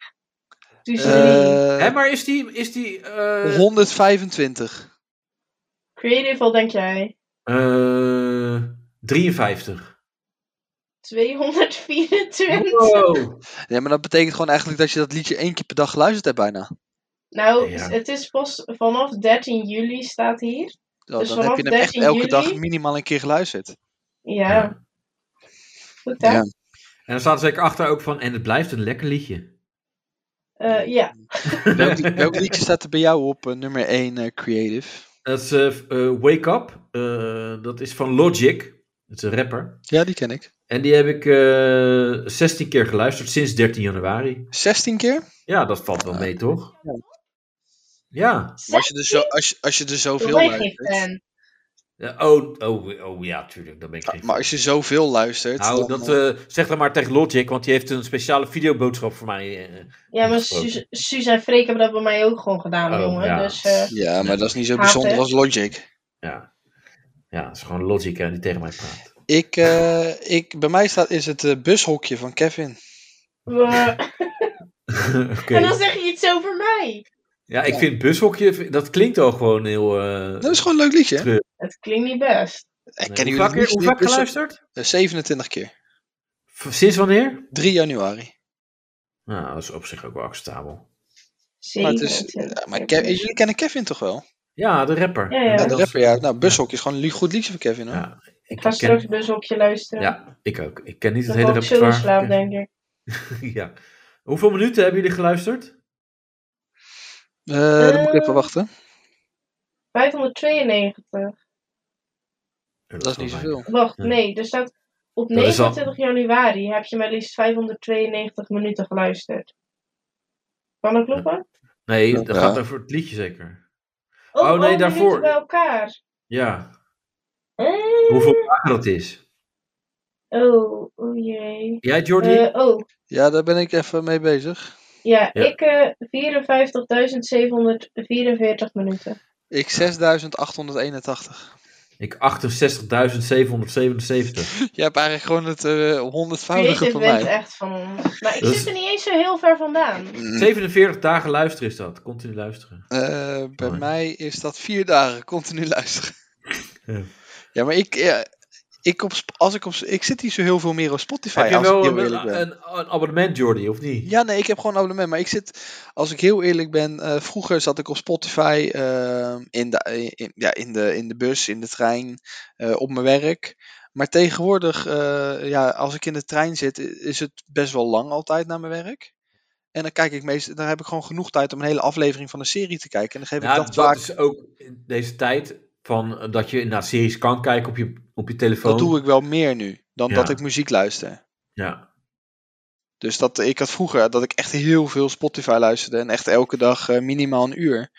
Dus drie. Eh, Hè, maar is die... Is die eh, 125. Creative, wat denk jij? eh, 53. 224. Wow. Ja, maar dat betekent gewoon eigenlijk dat je dat liedje één keer per dag geluisterd hebt bijna. Nou, Ja. het is pas vanaf 13 juli staat hier. Ja, Dus dan vanaf heb je hem echt 13 elke juli? dag minimaal een keer geluisterd. Ja. Ja. Goed hè? Ja. Ja. En er staat zeker achter ook van... En het blijft een lekker liedje. Eh, ja. Welk, welk liedje staat er bij jou op eh, nummer 1 Creative? Dat is eh, f- eh, Wake Up. Eh, dat is van Logic. Dat is een rapper. Ja, die ken ik. En die heb ik eh 16 keer geluisterd sinds 13 januari. 16 keer? Ja, dat valt wel mee, toch? Ja. Ja. Maar Als je, er zo, als, je- als je er Volgens zoveel mij geen luistert. fan. Ja, Oh, oh, oh ja, tuurlijk. Dan ben eh. ik geen Maar als je zoveel luistert. Nou, dan, dat, eh, eh, zeg dan maar tegen Logic, want die heeft een speciale videoboodschap voor mij. eh. Ja, maar Gesproken. Suus, Suus en Freek hebben dat bij mij ook gewoon gedaan, Oh, jongen. ja. Dus eh, ja, maar dat is niet zo Haat, bijzonder hè? als Logic. ja. ja, dat is gewoon Logic hè, die tegen mij praat. Ik, eh, ik, bij mij staat, is het eh, bushokje van Kevin. we- Oké. En dan zeg je iets over mij. Ja, ik vind bushokje, dat klinkt al gewoon heel... eh, Dat is gewoon een leuk liedje. hè? Terug. Het klinkt niet best. Ik hoe ken jullie vaak- het liedje Hoe die vaak Bushok- geluisterd? eh, 27 keer. V- Sinds wanneer? 3 januari. Nou, dat is op zich ook wel acceptabel. Maar, het is, ja, maar Ke- jullie kennen Kevin toch wel? Ja, de rapper. Ja, ja. Ja, de Dat- rapper, ja. Nou, Bushok is gewoon een li- goed liedje van Kevin. Hoor. Ja, Ik, Ik ga ken- straks dus op je luisteren. Ja, ik ook. Ik ken niet het dan ga hele ik chillen slaap, repertoire. denk ik. ja. Hoeveel minuten hebben jullie geluisterd? Eh, dan moet ik even Eh, wachten. 592. Dat is niet zoveel. Wacht, Ja. nee. Er staat op Dat is al- 29 januari heb je maar liefst 592 minuten geluisterd. Kan Oh, dat kloppen? Nee, dat Ja. gaat over het liedje zeker. Oh, Oh, nee, al minuten daarvoor. bij elkaar. Ja, Eh, hoeveel dagen dat is. Oh, oh jee. Jij, Jordi? Eh, oh, Ja, daar ben ik even mee bezig. ja, Ja. ik eh 54.744 minuten. Ik 6881. Ik 68.777. Je hebt eigenlijk gewoon het eh, honderdvoudige Creative van bent mij. echt van ons. Maar ik Dus- zit er niet eens zo heel ver vandaan. Mm, 47 dagen luisteren is dat. Continu luisteren. eh, bij Mooi. mij is dat vier dagen continu luisteren. Ja. Ja, maar ik, ja, ik, op, Sp- als ik, op, ik zit niet zo heel veel meer op Spotify. Heb je als ik wel heel een, eerlijk ben. een, een abonnement, Jordi, of niet? Ja, nee, ik heb gewoon een abonnement. Maar ik zit, als ik heel eerlijk ben, eh, vroeger zat ik op Spotify ehm, in, de, eh, in, ja, in, de, in de bus, in de trein, eh, op mijn werk. Maar tegenwoordig, eh, ja, als ik in de trein zit, i- is het best wel lang altijd naar mijn werk. En dan kijk ik meestal, dan heb ik gewoon genoeg tijd om een hele aflevering van een serie te kijken. En dan geef Ja, ik dat, dat vaak. is ook in deze tijd van eh, dat je naar series kan kijken op je, op je telefoon. Dat doe ik wel meer nu dan dat Ja. ik muziek luister. Ja. Dus dat, ik had vroeger dat ik echt heel veel Spotify luisterde en echt elke dag eh, minimaal een uur.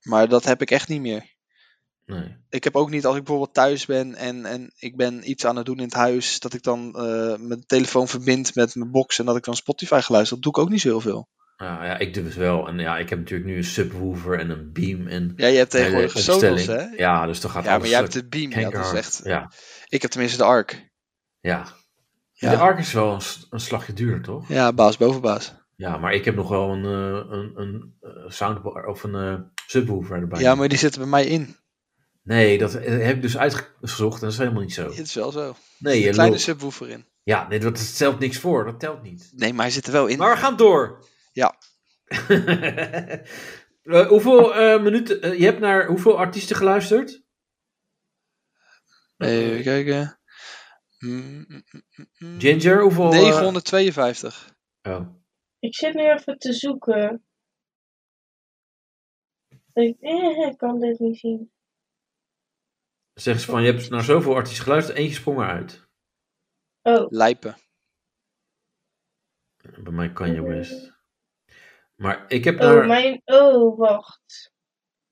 Maar dat heb ik echt niet meer. Nee. ik heb ook niet als ik bijvoorbeeld thuis ben en, en ik ben iets aan het doen in het huis, dat ik dan eh, mijn telefoon verbind met mijn box en dat ik dan Spotify geluisterd. Dat doe ik ook niet zo heel veel. Nou ja, ik doe het wel. En ja, ik heb natuurlijk nu een subwoofer en een beam en Ja, je hebt tegenwoordig hele een Sonos, hè? opstelling. Ja, dus dan gaat Ja, maar alles jij hebt stuk. de Beam. Ja, dat is Kanker. echt... Ja, Ik heb tenminste de Arc. ja. Ja. De Ark is wel een, s- een slagje duurder, toch? Ja, baas boven baas. Ja, maar ik heb nog wel een, eh, een, een eh, soundbar of een eh, subwoofer erbij. Ja, maar die zitten bij mij in. Nee, dat eh, heb ik dus uitgezocht en dat is helemaal niet zo. Het is wel zo. Nee, je een kleine lult. subwoofer in. Ja, nee, dat dat stelt niks voor, dat telt niet. Nee, maar hij zit er wel in. Maar we gaan door. Ja. Eh, hoeveel eh, minuten, eh, je hebt naar hoeveel artiesten geluisterd? Even kijken. Mm, mm, mm, mm, mm. Ginger, hoeveel? eh, 952. oh. Ik zit nu even te zoeken. Ik eh, ik kan dit niet zien. Zeggen ze van, nou je hebt naar zoveel artiesten geluisterd, eentje sprong eruit. Oh, Lijpen. Bij mij Kanye West. Maar ik heb Mhm. Oh, naar... mijn... Oh, wacht.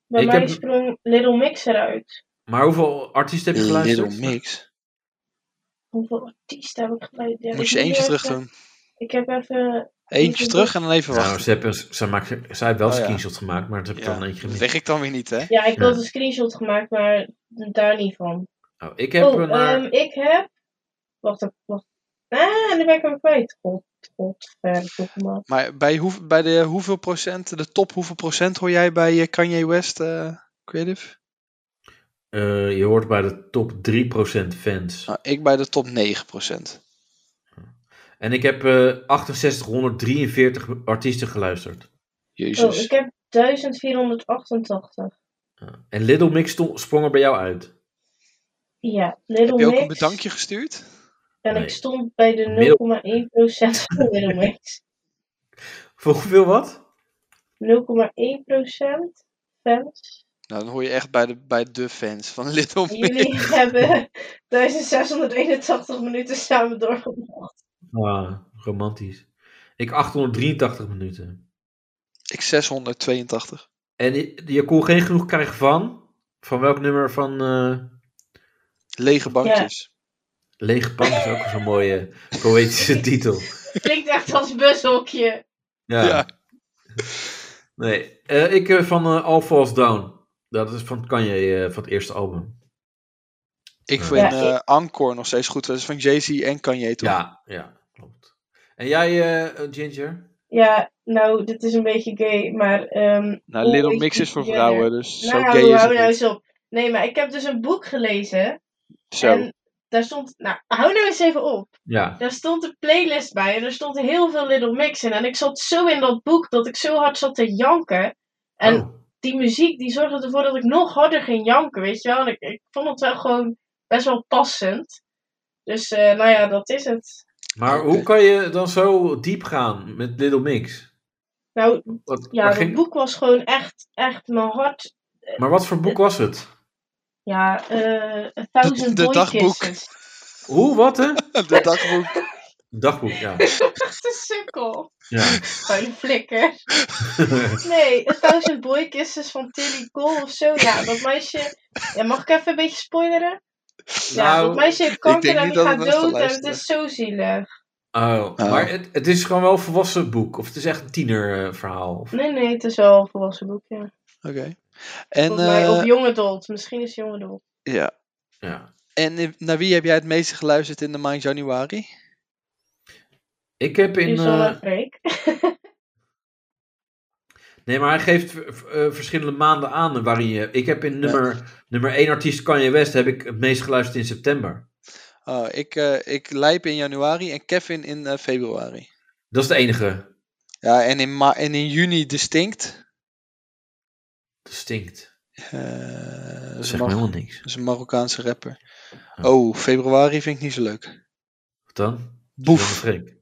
Bij Ik mij heb- sprong Little Mix eruit. Maar hoeveel artiesten Eh, heb je geluisterd? Little Mix. Hoeveel artiesten heb ik geluisterd? Ja, Moet ik je moet eentje even- terug doen. Ik heb even... Eentje even- terug en dan even Nou, wachten. ze, hebben, ze, maakt, ze heeft wel Oh, ja. screenshots gemaakt, maar Nou, dat heb ik Ja, dan eentje Dat gemist. leg ik dan weer niet, hè? Ja, ik had Ja. een screenshot gemaakt, maar daar niet van. Oh, ik heb oh, er naar... ehm, ik heb... Wacht, even, wacht. Ah, en dan ben ik hem kwijt. God, godverdomme. Maar bij, hoe, bij de hoeveel procent, de top hoeveel procent hoor jij bij eh, Kanye West eh, Creative? eh, je hoort bij de top 3% fans. Nou, ik bij de top 9 procent. En ik heb eh 6843 artiesten geluisterd. Oh, Jezus. ik heb 1488. Ja. Ah. En Little Mix sto- sprong er bij jou uit. Ja, Little Heb je ook Mix. een bedankje gestuurd? En Nee. ik stond bij de 0,1% Middel- van Little Mix. Voor hoeveel wat? 0,1% fans. Nou, dan hoor je echt bij de, bij de fans van Little En Mix. Jullie hebben 1681 minuten samen doorgebracht. Ah, romantisch. Ik 883 minuten. Ik 682. En je, je kon geen genoeg krijgen van... Van welk nummer van... eh, Lege bankjes. Lege Pan is ook zo'n mooie poëtische titel. Klinkt echt als bushokje. Ja. Nee, eh, ik eh, van eh, All Falls Down. Dat is van Kanye, eh, van het eerste album. Ik Ja. vind Ja, eh, Encore nog steeds goed. Dat is van Jay-Z en Kanye toch? Ja, ja, klopt. En jij, eh, Ginger? Ja, nou, dit is een beetje gay, maar... ehm Nou, hoe Little is Mix is voor die vrouwen, verder? dus zo Nou, gay is het hou niet. nou eens op. Nee, maar ik heb dus een boek gelezen. Zo. En daar stond... Nou, hou nou eens even op. Ja. Daar stond een playlist bij en er stond heel veel Little Mix in. En ik zat zo in dat boek dat ik zo hard zat te janken. En Oh, die muziek die zorgde ervoor dat ik nog harder ging janken, weet je wel. En ik, ik vond het wel gewoon best wel passend. Dus eh, nou ja, dat is het. maar hoe Oké. kan je dan zo diep gaan met Little Mix? Nou, Wat, ja, waar dat ging- boek was gewoon echt, echt mijn hart. Maar wat voor boek was het? Ja, eh A Thousand de Boy dagboek. Kisses. Hoe, wat hè? De dagboek. Dagboek, ja. Echt een sukkel. ja. Vuile flikker. Nee, A Thousand Boy Kisses van Tilly Cole of zo. Ja, dat meisje... Ja, mag ik even een beetje spoileren? Ja, Nou, dat meisje heeft kanker denk en niet die dat gaat het mensen dood en het luisteren. is zo zielig. Oh, Oh. maar het, het is gewoon wel een volwassen boek. Of het is echt een tienerverhaal. verhaal. of- Nee, nee, het is wel een volwassen boek, ja. Oké. En, Volgens mij, eh, of Young Adult, misschien is Young Adult. ja. Ja. en eh, naar wie heb jij het meeste geluisterd in de maand januari? Ik heb in... Die is wel eh, een freak. Nee, maar hij geeft v- v- eh, verschillende maanden aan waarin je... Ik heb in nummer, nummer 1 artiest Kanye West heb ik het meest geluisterd in september. Oh, ik, eh ik lijp in januari en Kevin in eh, februari. Dat is de enige. Ja, en in, ma en in juni distinct. Dat stinkt. Eh, Dat ze zegt me mag- helemaal niks. Dat is een Marokkaanse rapper. Ja. Oh, februari vind ik niet zo leuk. Wat dan? Boef. Willem Freek.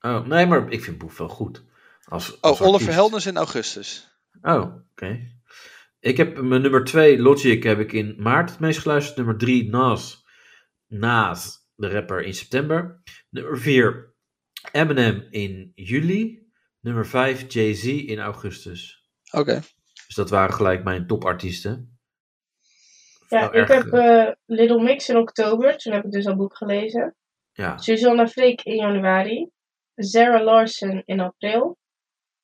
Oh, nee, maar ik vind Boef wel goed. Als, als Oh, Oliver artiest. Helders in augustus. Oh, oké. Ik heb mijn nummer 2, Logic, heb ik in maart het meest geluisterd. Nummer 3, Nas. Nas, de rapper, in september. Nummer 4, Eminem in juli. Nummer 5, Jay-Z in augustus. Oké. Dus dat waren gelijk mijn topartiesten. Ja, Wel erg, ik heb eh, eh, Little Mix in oktober, toen heb ik dus dat boek gelezen. ja. Susanna Freek in januari. Sarah Larson in april.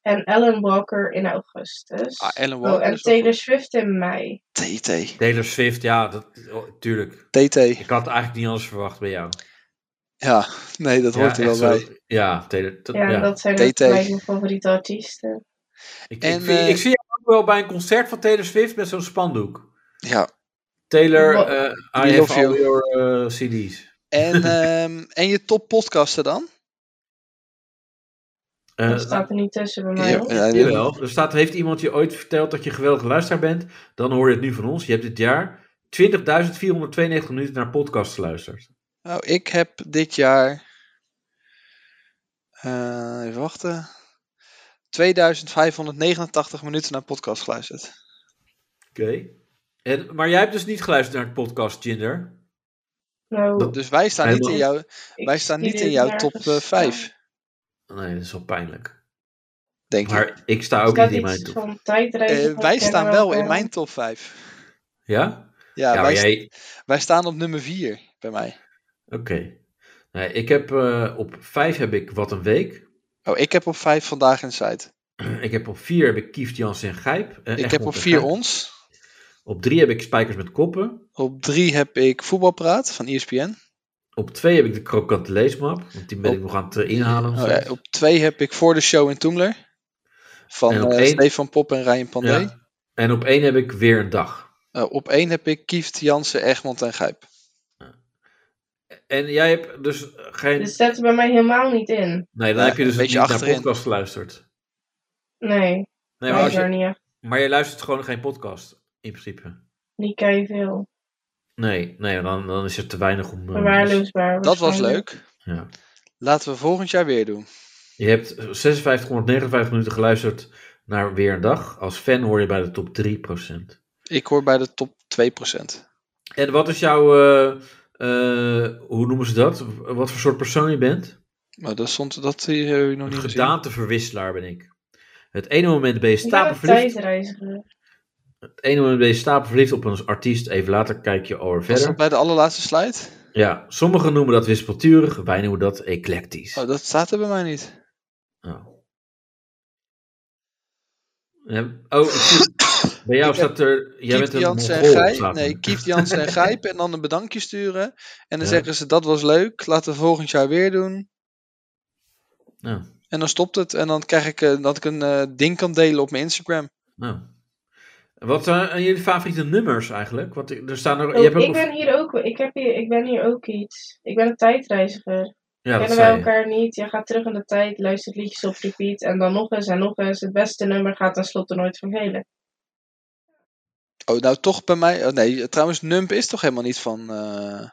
En Ellen Walker in augustus. Ah, Ellen Oh, Walker en is wel Taylor goed. Swift in mei. TT. Taylor Swift, ja, dat, oh, tuurlijk. TT. Ik had eigenlijk niet anders verwacht bij jou. Ja, nee, dat Ja, hoort er wel echt zo. bij. Ja, Taylor. dat- Ja, ja. dat zijn TT. ook gelijk mijn favoriete artiesten. Ik, En, ik, vind- eh, ik zie jou ook wel bij een concert van Taylor Swift met zo'n spandoek. Ja. Taylor, Wa- eh, I We have love all you. your eh, CD's. En, ehm, en je top podcasten dan? Eh, Dat staat er niet tussen bij mij. hoor. ja, jawel. Er staat, heeft iemand je ooit verteld dat je een geweldige luisteraar bent? Dan hoor je het nu van ons. Je hebt dit jaar 20.492 minuten naar podcasts geluisterd. Nou, ik heb dit jaar. eh, even wachten. 2589 minuten naar podcast geluisterd. Oké. En- Maar jij hebt dus niet geluisterd naar het podcast, Ginder. Nou, Dus wij staan niet in Helemaal. jouw, ik wij staan zie niet in dit jouw nergens top eh, staan. 5. Nee, dat is wel pijnlijk. denk ik. Maar ik sta ook staat niet in mijn iets top. van tijdreizen. Eh, van wij staan Canada. wel in mijn top 5. Ja? Ja, Ja, maar wij, st- jij... wij staan op nummer 4 bij mij. Oké. Nee, ik heb eh, op vijf heb ik Wat een Week. Oh, ik heb op 5 vandaag Inside. Ik heb op vier heb ik Kieft, Jansen en Gijp. Eh, Ik heb Egmond op en 4 Gijp. ons. Op drie heb ik Spijkers met Koppen. Op 3 heb ik Voetbalpraat van E ESPN. Op twee heb ik de krokante leesmap. Want die ben Op- ik nog aan het eh, inhalen. nog Oh, ja, steeds. op 2 heb ik Voor de Show in Toemler. Van En op eh, één- Stefan Pop en Ryan Pandey. Ja. En op één heb ik Weer een Dag. Eh, op 1 heb ik Kieft, Jansen, Egmond en Gijp. En jij hebt dus geen... Dus dat zet er bij mij helemaal niet in. Nee, dan Ja, heb je dus een niet beetje naar achterin. podcast geluisterd. Nee, Nee, maar, nee als daar je, niet echt. maar je luistert gewoon geen podcast, in principe. Niet kei veel. Nee, nee dan, dan is er te weinig om... eh, Verwaarloosbaar. Dat was waarschijnlijk. leuk. Ja. Laten we volgend jaar weer doen. Je hebt 5659 minuten geluisterd naar Weer een Dag. Als fan hoor je bij de top 3%. Ik hoor bij de top 2%. En wat is jouw... eh, eh, hoe noemen ze dat? Wat voor soort persoon je bent? Maar dat, stond, dat eh, heb ik nog Een niet gedaan. gedaanteverwisselaar ben ik. Het ene moment ben je Ik ben een stapelverliefd. tijdreiziger. Het ene moment ben je stapelverliefd op een artiest. Even later kijk je alweer Was dat verder. bij de allerlaatste slide? Ja, sommigen noemen dat wispelturig. Wij noemen dat eclectisch. Oh, dat staat er bij mij niet. Oh. Ja, Oh, ik zie- bij jou Ik heb staat er. Jij Kieft, bent een Jansen en Mongool, Gijp. staat er. Nee, Kieft, Jansen en Gijp. En dan een bedankje sturen. En dan Ja. zeggen ze, dat was leuk. Laten we volgend jaar weer doen. Ja. En dan stopt het. En dan krijg ik eh, dat ik een eh, ding kan delen op mijn Instagram. Nou. Wat zijn jullie favoriete nummers eigenlijk? Want er staan er. Oh, je hebt ook ik een- ben hier ook. Ik, heb hier, ik ben hier ook iets. Ik ben een tijdreiziger. ja, dat Kennen wij zei je. elkaar niet? Je gaat terug in de tijd, luistert liedjes op repeat en dan nog eens en nog eens. Het beste nummer gaat tenslotte nooit vervelen. Oh, nou toch bij mij. Oh, nee, trouwens, Nump is toch helemaal niet van eh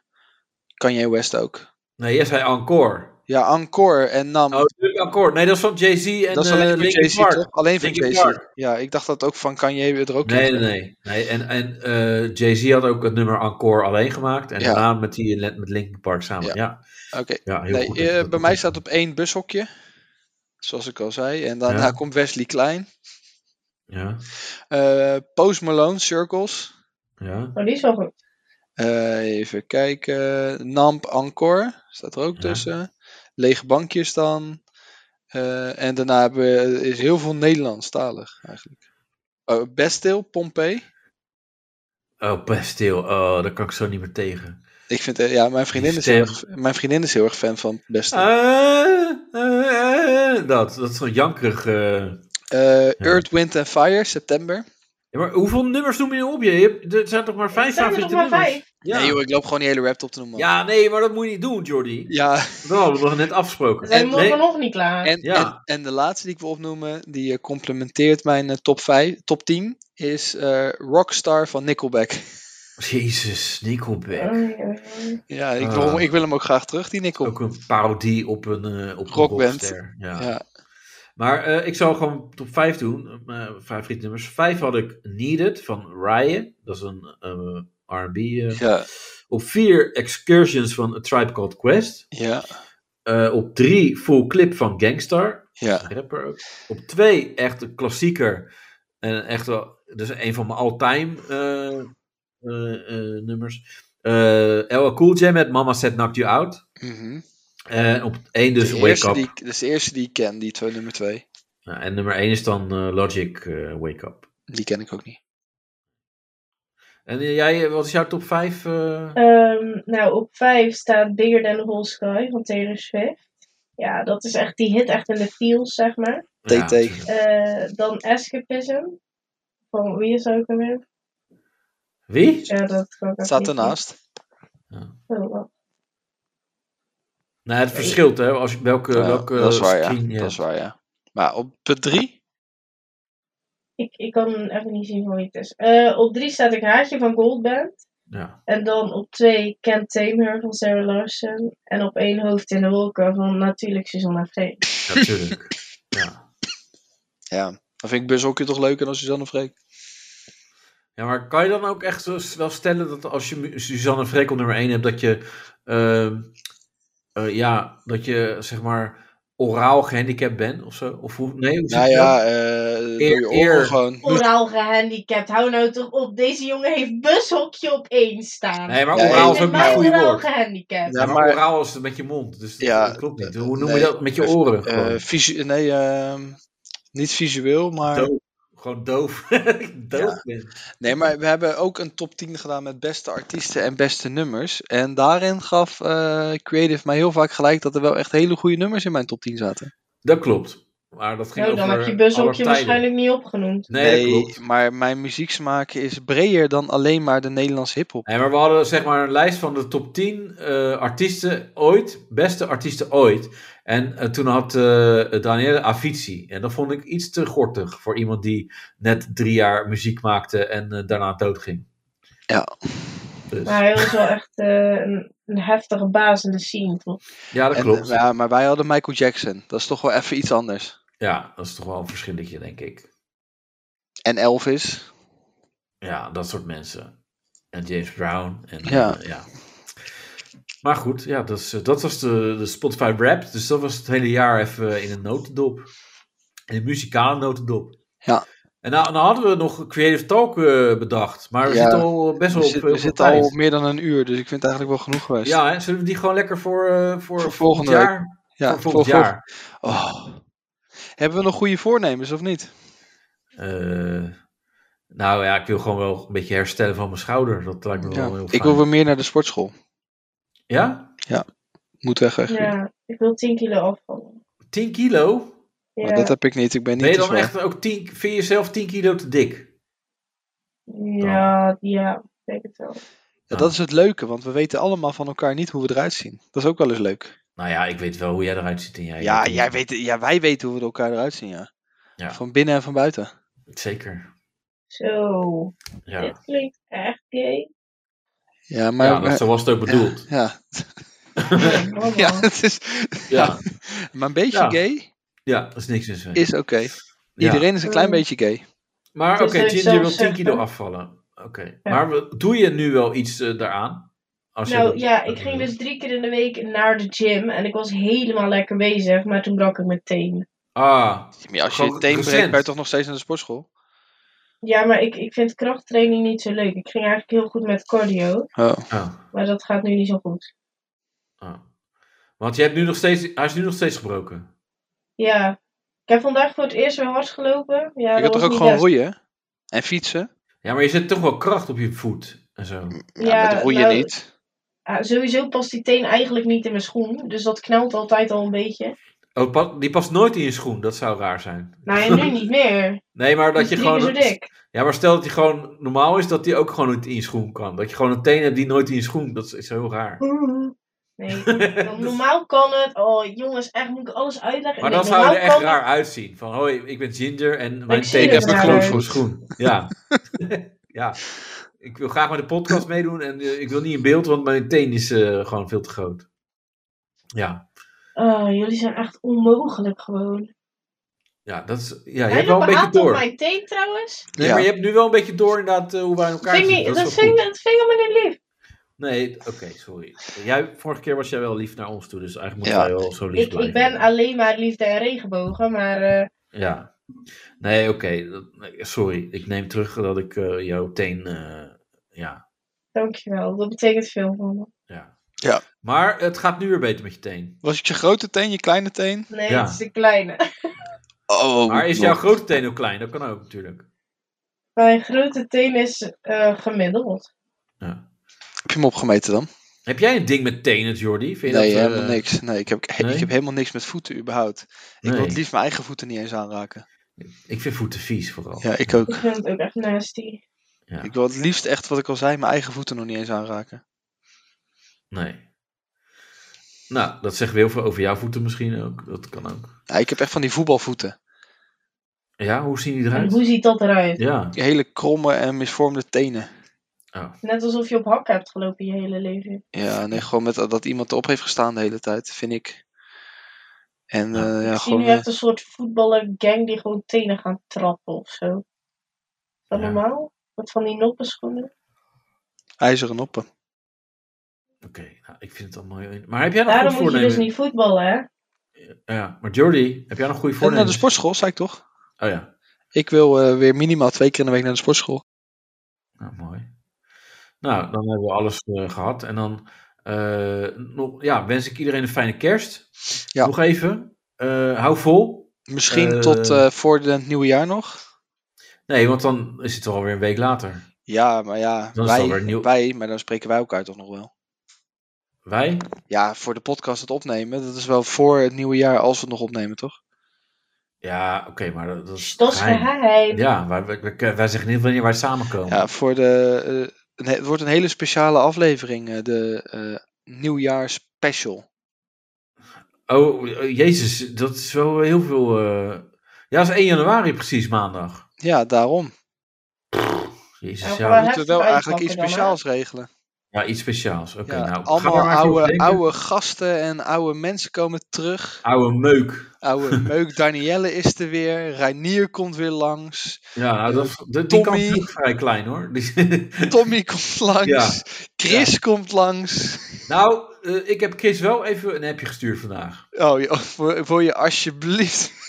Kanye West ook. Nee, jij zei Encore. Ja, Encore en Nam. Oh, natuurlijk Encore. Nee, dat is van Jay-Z en dat is eh, alleen van Linkin Jay-Z, Park. toch? Alleen van Linkin Jay-Z. Park. Ja, ik dacht dat ook van Kanye er ook Nee, in nee, nee. nee en en eh, Jay-Z had ook het nummer Encore alleen gemaakt. En Ja. daarna met, die, eh, met Linkin Park samen. Ja, Ja. ja. Oké. heel Nee, goed. eh, bij mij staat staat op één bushokje. Zoals ik al zei. En daarna Ja. komt Wesley Klein. Ja, Eh, Post Malone, Circles. ja. Maar die is wel goed. Eh, even kijken. Namp Encore. Staat er ook Ja. tussen. Lege bankjes dan. Eh, en daarna hebben we, is heel veel Nederlandstalig eigenlijk. Oh, Bestil, Pompey. Oh, Bastille. Oh, daar kan ik zo niet meer tegen. Ik vind, eh, ja, mijn vriendin, Die is heel erg, stem. mijn vriendin is heel erg fan van Bestil. Eh, eh, eh, dat, dat is zo'n jankerig. eh. Eh, Earth, Wind and Fire, September. Ja, maar hoeveel nummers noem je nou op? Je hebt, er zijn toch maar vijf Zijn er nog favoriete maar nummers? vijf? Ja. Nee joh, ik loop gewoon die hele rap op te noemen. man. ja, nee, maar dat moet je niet doen, Jordi. ja. Dat hadden we net afgesproken. We zijn nee, morgen nog niet klaar. En, Ja. en, en de laatste die ik wil opnoemen, die eh, complementeert mijn eh, top, 5, top 10, is eh, Rockstar van Nickelback. Jezus, Nickelback. Oei, oei, oei. ja, ik Ah. wil, hem- ik wil hem ook graag terug, die Nickel. Ook een parodie op een, eh op een Rockband. rockster. Ja. Ja. Maar eh, ik zou gewoon top 5 doen. Mijn favoriete nummers. Vijf had ik Needed van Ryan. Dat is een eh, RB. eh. Ja. Op vier Excursions van A Tribe Called Quest. ja, Eh, op drie Full Clip van Gangstar. ja. Rapper ook. Op twee echt een klassieker. En echt wel, dus een van mijn all-time eh, eh, eh, nummers. Eh LL Cool Jam met Mama Said Knocked You Out. mhm. En op één dus de Wake eerste Up. Die, ik- dat is de eerste die ik ken, die twee, nummer 2. Nou, en nummer één is dan eh, Logic eh, Wake Up. Die ken ik ook niet. En eh, jij, wat is jouw top eh? 5? Ehm, nou, op vijf staat Bigger Than The Whole Sky van Taylor Swift. Ja, dat is echt die hit echt in de feels, zeg maar. TT. Eh, dan Escapism. Van wie is dat ook alweer? Wie? Ja, dat kan ik Het echt staat niet- ernaast. Oh, wat. Nou, het verschilt hè, als, je- welke, Ja, welke dat is waar, ja. screen je Dat is hebt. waar, ja. Maar op 3? Ik, ik kan even niet zien hoe het is. Eh, op drie staat ik Haartje van Goldband. Ja. En dan op twee Can't Tame Her van Sarah Larsen. En op één Hoofd in de Wolken van natuurlijk Susanna Freek. natuurlijk. ja. Ja. Dan vind ik Bushokje toch leuker dan Suzanne Freek. Ja, maar kan je dan ook echt zo- wel stellen dat als je Mu- Suzanne Freek op nummer 1 hebt, dat je, ehm, eh, ja, dat je zeg maar oraal gehandicapt ben of zo? Of hoe, nee, hoe zit Nou dat? ja, eh door je oren eer. gewoon. Oraal gehandicapt. Hou nou toch op. Deze jongen heeft bushokje op één staan. Nee, maar Ja, oraal Hij is is ook niet het mij goede oraal woord. gehandicapt. Ja, Ja, maar maar- oraal is met je mond, dus dat- Ja, dat klopt niet. Hoe noem nee, je dat? Met je dus, oren Eh, gewoon. visu- nee, ehm, niet visueel, maar... Doof. Gewoon doof. doof ben. Nee, maar we hebben ook een top 10 gedaan met beste artiesten en beste nummers. En daarin gaf eh, Creative mij heel vaak gelijk dat er wel echt hele goede nummers in mijn top 10 zaten. Dat klopt. Maar dat ging Nou, dan over heb je aller bushokje tijden. waarschijnlijk niet opgenoemd. Nee, dat klopt. maar mijn muzieksmaak is breder dan alleen maar de Nederlandse hiphop. Nee, maar we hadden zeg maar een lijst van de top 10 eh, artiesten ooit, beste artiesten ooit. En eh, toen had eh Daniele Avicii. En dat vond ik iets te gortig voor iemand die net drie jaar muziek maakte en eh, daarna doodging. Ja. Dus, Maar hij was wel echt eh, een, een heftige baas in de scene, toch? ja, dat En, eh, klopt. Ja. ja, maar wij hadden Michael Jackson. Dat is toch wel even iets anders. dat is toch wel een verschilletje, denk ik. En Elvis. Ja, dat soort mensen. En James Brown. En, Ja. eh, ja. Maar goed, ja, dat, is, eh, dat was de, de Spotify Rap. Dus dat was het hele jaar even eh, in een notendop. In een muzikale notendop. Ja. En nou, nou hadden we nog Creative Talk eh, bedacht. Maar we Ja. zitten al eh, best We, wel op zit- veel we zitten tijd. al meer dan een uur, dus ik vind het eigenlijk wel genoeg geweest. Ja, hè? zullen we die gewoon lekker voor, eh voor, Voor volgend volgende jaar? Ja, voor volgend voor- jaar. Oh. Hebben we nog goede voornemens of niet? Eh, nou ja, ik wil gewoon wel een beetje herstellen van mijn schouder. Dat lijkt me Ja. wel Oh, heel fijn. Ik wil weer meer naar de sportschool. Ja? Moet weg, echt. Ja, ik wil 10 kilo afvallen. 10 kilo? Ja, Maar dat heb ik niet. Ik ben niet Ben je te dan zwaar. echt ook 10, vind je jezelf 10 kilo te dik? Oh. ja, ja, ik denk het wel. Ja, Ah. dat is het leuke, want we weten allemaal van elkaar niet hoe we eruit zien. Dat is ook wel eens leuk. Nou ja, ik weet wel hoe jij eruit ziet in jij. Ja, jij weet, ja wij weten hoe we elkaar eruit zien, ja. Ja. Van binnen en van buiten. Zeker. Zo, Ja, dit klinkt echt gay. Ja, maar... ja dat, zo was het ook bedoeld. ja, Ja, ja, het is, Ja, maar een beetje Ja. gay ja dat is niks mis mee. is oké. Ja. Iedereen is een klein Mm. beetje gay. Maar oké, Dus dat ik Ginger zelf wil 10 zeg, kilo hè? afvallen. Oké. Maar we- doe je nu wel iets eh, daaraan? Als je Nou dat- ja, ik ging dus drie keer in de week naar de gym en ik was helemaal lekker bezig, maar toen brak ik mijn teen. Ah, Maar als je Gewoon je teen breekt, recent. ben je toch nog steeds naar de sportschool? Ja, maar ik, ik vind krachttraining niet zo leuk. Ik ging eigenlijk heel goed met cardio, Oh. ah, maar dat gaat nu niet zo goed. ah. Want je hebt nu nog steeds, hij is nu nog steeds gebroken. Ja, ik heb vandaag voor het eerst weer hard gelopen. Ja, je kunt dat toch was ook niet gewoon best. roeien? En fietsen? Ja, maar je zet toch wel kracht op je voet en zo. Ja, Ja, met roeien nou, niet. Ja, sowieso past die teen eigenlijk niet in mijn schoen, dus dat knelt altijd al een beetje. Oh, pa- die past nooit in je schoen, dat zou raar zijn. Nou ja, nu niet meer. Nee, maar dat Die je is drie keer gewoon. zo dik. Ja, maar stel dat die gewoon normaal is, dat die ook gewoon niet in je schoen kan. Dat je gewoon een teen hebt die nooit in je schoen. Dat is, is heel raar. Dus- Nee, want normaal kan het. Oh jongens, echt moet ik alles uitleggen. Maar Nee, dan zou je normaal er echt kan het- raar uitzien. Van, hoi, ik ben Ginger en mijn zie teen er is raar geklopt uit. voor schoen. Ja. ja. Ik wil graag met de podcast meedoen en eh, ik wil niet in beeld, want mijn teen is eh, gewoon veel te groot. Ja. Oh, jullie zijn echt onmogelijk gewoon. Ja, dat is, ja je Hij hebt wel een beetje behaalt op door. mijn teen trouwens. Nee, Ja. maar je hebt nu wel een beetje door inderdaad eh, hoe wij in elkaar Vind zitten. je, Dat dat is wel vind, goed. dat vind ik helemaal niet lief. Nee, oké, sorry. Jij, vorige keer was jij wel lief naar ons toe, dus eigenlijk Ja. moeten wij wel zo lief Ik, blijven. ik ben alleen maar liefde en regenbogen, maar eh, Ja. Nee, oké. dat- nee, Sorry, ik neem terug dat ik eh, jouw teen. eh, ja, dankjewel. Dat betekent veel voor me. ja. Ja. Maar het gaat nu weer beter met je teen. Was het je grote teen, je kleine teen? Nee, Ja. het is de kleine. Oh, Maar is nog. jouw grote teen ook klein? Dat kan ook natuurlijk. Mijn grote teen is eh, gemiddeld. Heb je hem opgemeten dan? Heb jij een ding met tenen, Jordi? Vind je Nee, dat, eh, helemaal niks. Nee, ik heb, he- nee? ik heb helemaal niks met voeten überhaupt. Ik wil Nee. het liefst mijn eigen voeten niet eens aanraken. Ik vind voeten vies vooral. Ja, ik ook. Ik vind het ook echt nasty. Ja. Ik wil het liefst echt, wat ik al zei, mijn eigen voeten nog niet eens aanraken. Nee. Nou, dat zegt weer heel veel over jouw voeten misschien ook. Dat kan ook. Ja, ik heb echt van die voetbalvoeten. Ja, hoe zien die En eruit? hoe ziet dat eruit? Ja. Die hele kromme en misvormde tenen. Net alsof je op hak hebt gelopen je hele leven. Ja, nee, gewoon met dat iemand erop heeft gestaan de hele tijd, vind ik. En Ja. eh, ja, ik zie gewoon... nu echt een soort voetballergang die gewoon tenen gaan trappen of zo. Is Dat Ja. normaal? Wat van die noppenschoenen? eh, ijzeren noppen. Oké, nou, ik vind het allemaal heel... Maar heb jij nog Daarom goed moet je voornemen? dus niet voetballen, hè? Ja, maar Jordi, heb jij nog goede En naar de voornemens? sportschool, zei ik toch? Oh ja, Ik wil eh, weer minimaal twee keer in de week naar de sportschool. nou, mooi. Nou, dan hebben we alles eh, gehad. En dan eh, nog, ja, wens ik iedereen een fijne kerst. Ja. Nog even. Eh, hou vol. Misschien Eh. tot eh, voor het nieuwe jaar nog. Nee, want dan is het alweer een week later. Ja, maar ja, Dan is het alweer wij, nieuw- wij, maar dan spreken wij elkaar toch nog wel. Wij? Ja, voor de podcast het opnemen, dat is wel voor het nieuwe jaar als we het nog opnemen, toch? Ja, oké, maar dat, dat is Dat is geheim. geheim. Ja, wij, wij, wij- wij zeggen niet wanneer wij samenkomen. Ja, voor de, eh, een he- het wordt een hele speciale aflevering, eh, de eh nieuwjaarspecial. Oh, eh, jezus, dat is wel heel veel. eh, Ja, dat is 1 januari precies, maandag. Ja, daarom. Jezus, Nou, ja, We gaan dat- Heftig moeten wel eigenlijk uitpakken iets dan, hè? speciaals regelen. ja, iets speciaals. Oké, ja, nou, gaan we allemaal maar eens over oude, denken. oude gasten en oude mensen komen terug. Oude meuk. Oude meuk Danielle is er weer. Reinier komt weer langs. Ja, nou, dat, dat- die Eh, Tommy. kans is ook vrij klein hoor. Die- Tommy komt langs. Ja. Chris komt langs. nou, eh, ik heb Chris wel even een appje gestuurd vandaag. Oh, joh, voor, voor je alsjeblieft.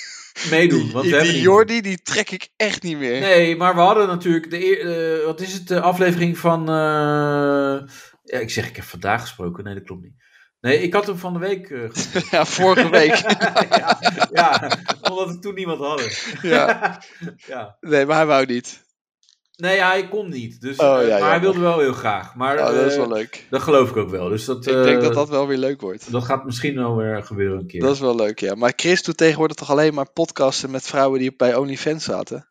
Meedoen, Die, want we die hebben niemand. Jordi, die trek ik echt niet meer. Nee, maar we hadden natuurlijk de eer- eh, wat is het, de aflevering van. eh, ja, ik zeg, ik heb vandaag gesproken. Nee, dat klopt niet. Nee, ik had hem van de week. eh, ge- Ja, vorige week. ja, ja, omdat we toen niemand hadden. ja. ja. Nee, maar hij wou niet. Nee, ja, hij kon niet. Dus, Oh, eh, maar ja, hij jammer. wilde wel heel graag. Maar Oh, dat is eh, wel leuk. dat geloof ik ook wel. Dus dat, Ik denk eh, dat dat wel weer leuk wordt. dat gaat misschien wel weer gebeuren een keer. Dat is wel leuk, ja. Maar Chris doet tegenwoordig toch alleen maar podcasten met vrouwen die bij OnlyFans zaten?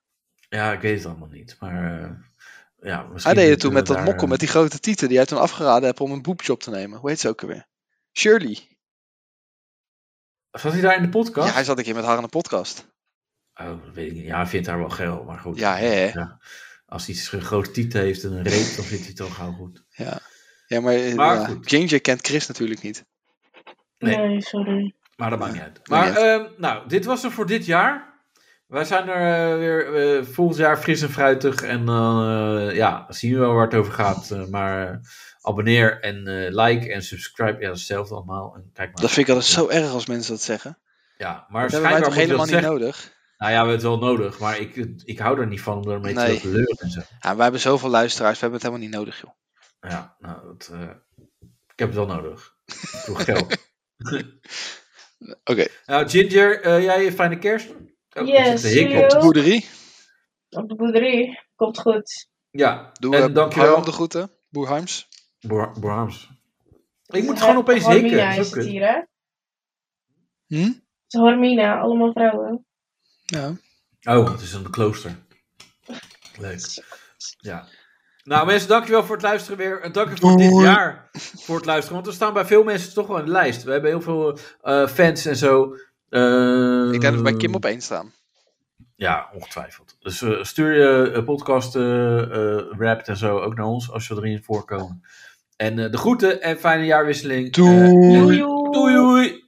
Ja, ik weet het allemaal niet. Maar eh, ja, misschien... Hij deed het kunnen toen met we dat daar, mokkel eh, met die grote tieten die hij toen afgeraden hebt om een boepjob te nemen. Hoe heet ze ook alweer? Shirley. Zat hij daar in de podcast? Ja, hij zat een keer met haar in een podcast. Oh, dat weet ik niet. Ja, hij vindt haar wel geil, maar goed. Ja, hè, hè? Ja. Als hij een grote titel heeft en een reet, dan vindt hij het al gauw goed. Ja, maar, eh, Maar ja, goed. Ginger kent Chris natuurlijk niet. Nee. Nee, sorry. Maar dat maakt niet uit. maakt Maar, niet ehm, nou, dit was hem voor dit jaar. Wij zijn er eh, weer eh, volgend jaar fris en fruitig. En dan eh, ja, zien we wel waar het over gaat. Eh, maar eh, abonneer en eh, like en subscribe. Ja, dat is hetzelfde allemaal. En kijk maar. Dat vind ik altijd zo erg als mensen dat zeggen. Ja, maar Dat hebben wij schijnbaar toch moet je helemaal dat niet zeggen. nodig? Nou ja, we hebben het wel nodig. Maar ik, ik hou er niet van om ermee Nee. te leuren en zo. Ja, wij hebben zoveel luisteraars, we hebben het helemaal niet nodig, joh. Ja, nou, dat, eh, ik heb het wel nodig. Voor geld. Oké, Nou, Ginger, eh, jij een fijne kerst? Oh, ik zit Yes, te hikken. you. op de boerderie. Op de boerderie. Komt goed. Ja, Doe en en dankjewel. de groeten. Boer Harms. Boer- Boer Harms. Ik moet gewoon opeens hikken. Hormina dat is is ook het kut. hier, hè? Het Hm? is Hormina, nou, allemaal vrouwen. Ja. Oh, het is een klooster. Leuk. Ja. Nou mensen, dankjewel voor het luisteren weer. En dank u voor dit Doei. jaar voor het luisteren. Want we staan bij veel mensen toch wel in de lijst. We hebben heel veel eh, fans en zo. Eh, Ik denk dat we bij Kim op één staan. Ja, ongetwijfeld. Dus eh, stuur je eh, podcast, eh, eh, rap en zo ook naar ons als we erin voorkomen. En eh, de groeten en fijne jaarwisseling. Eh, en Doei. Doei. doei. doei.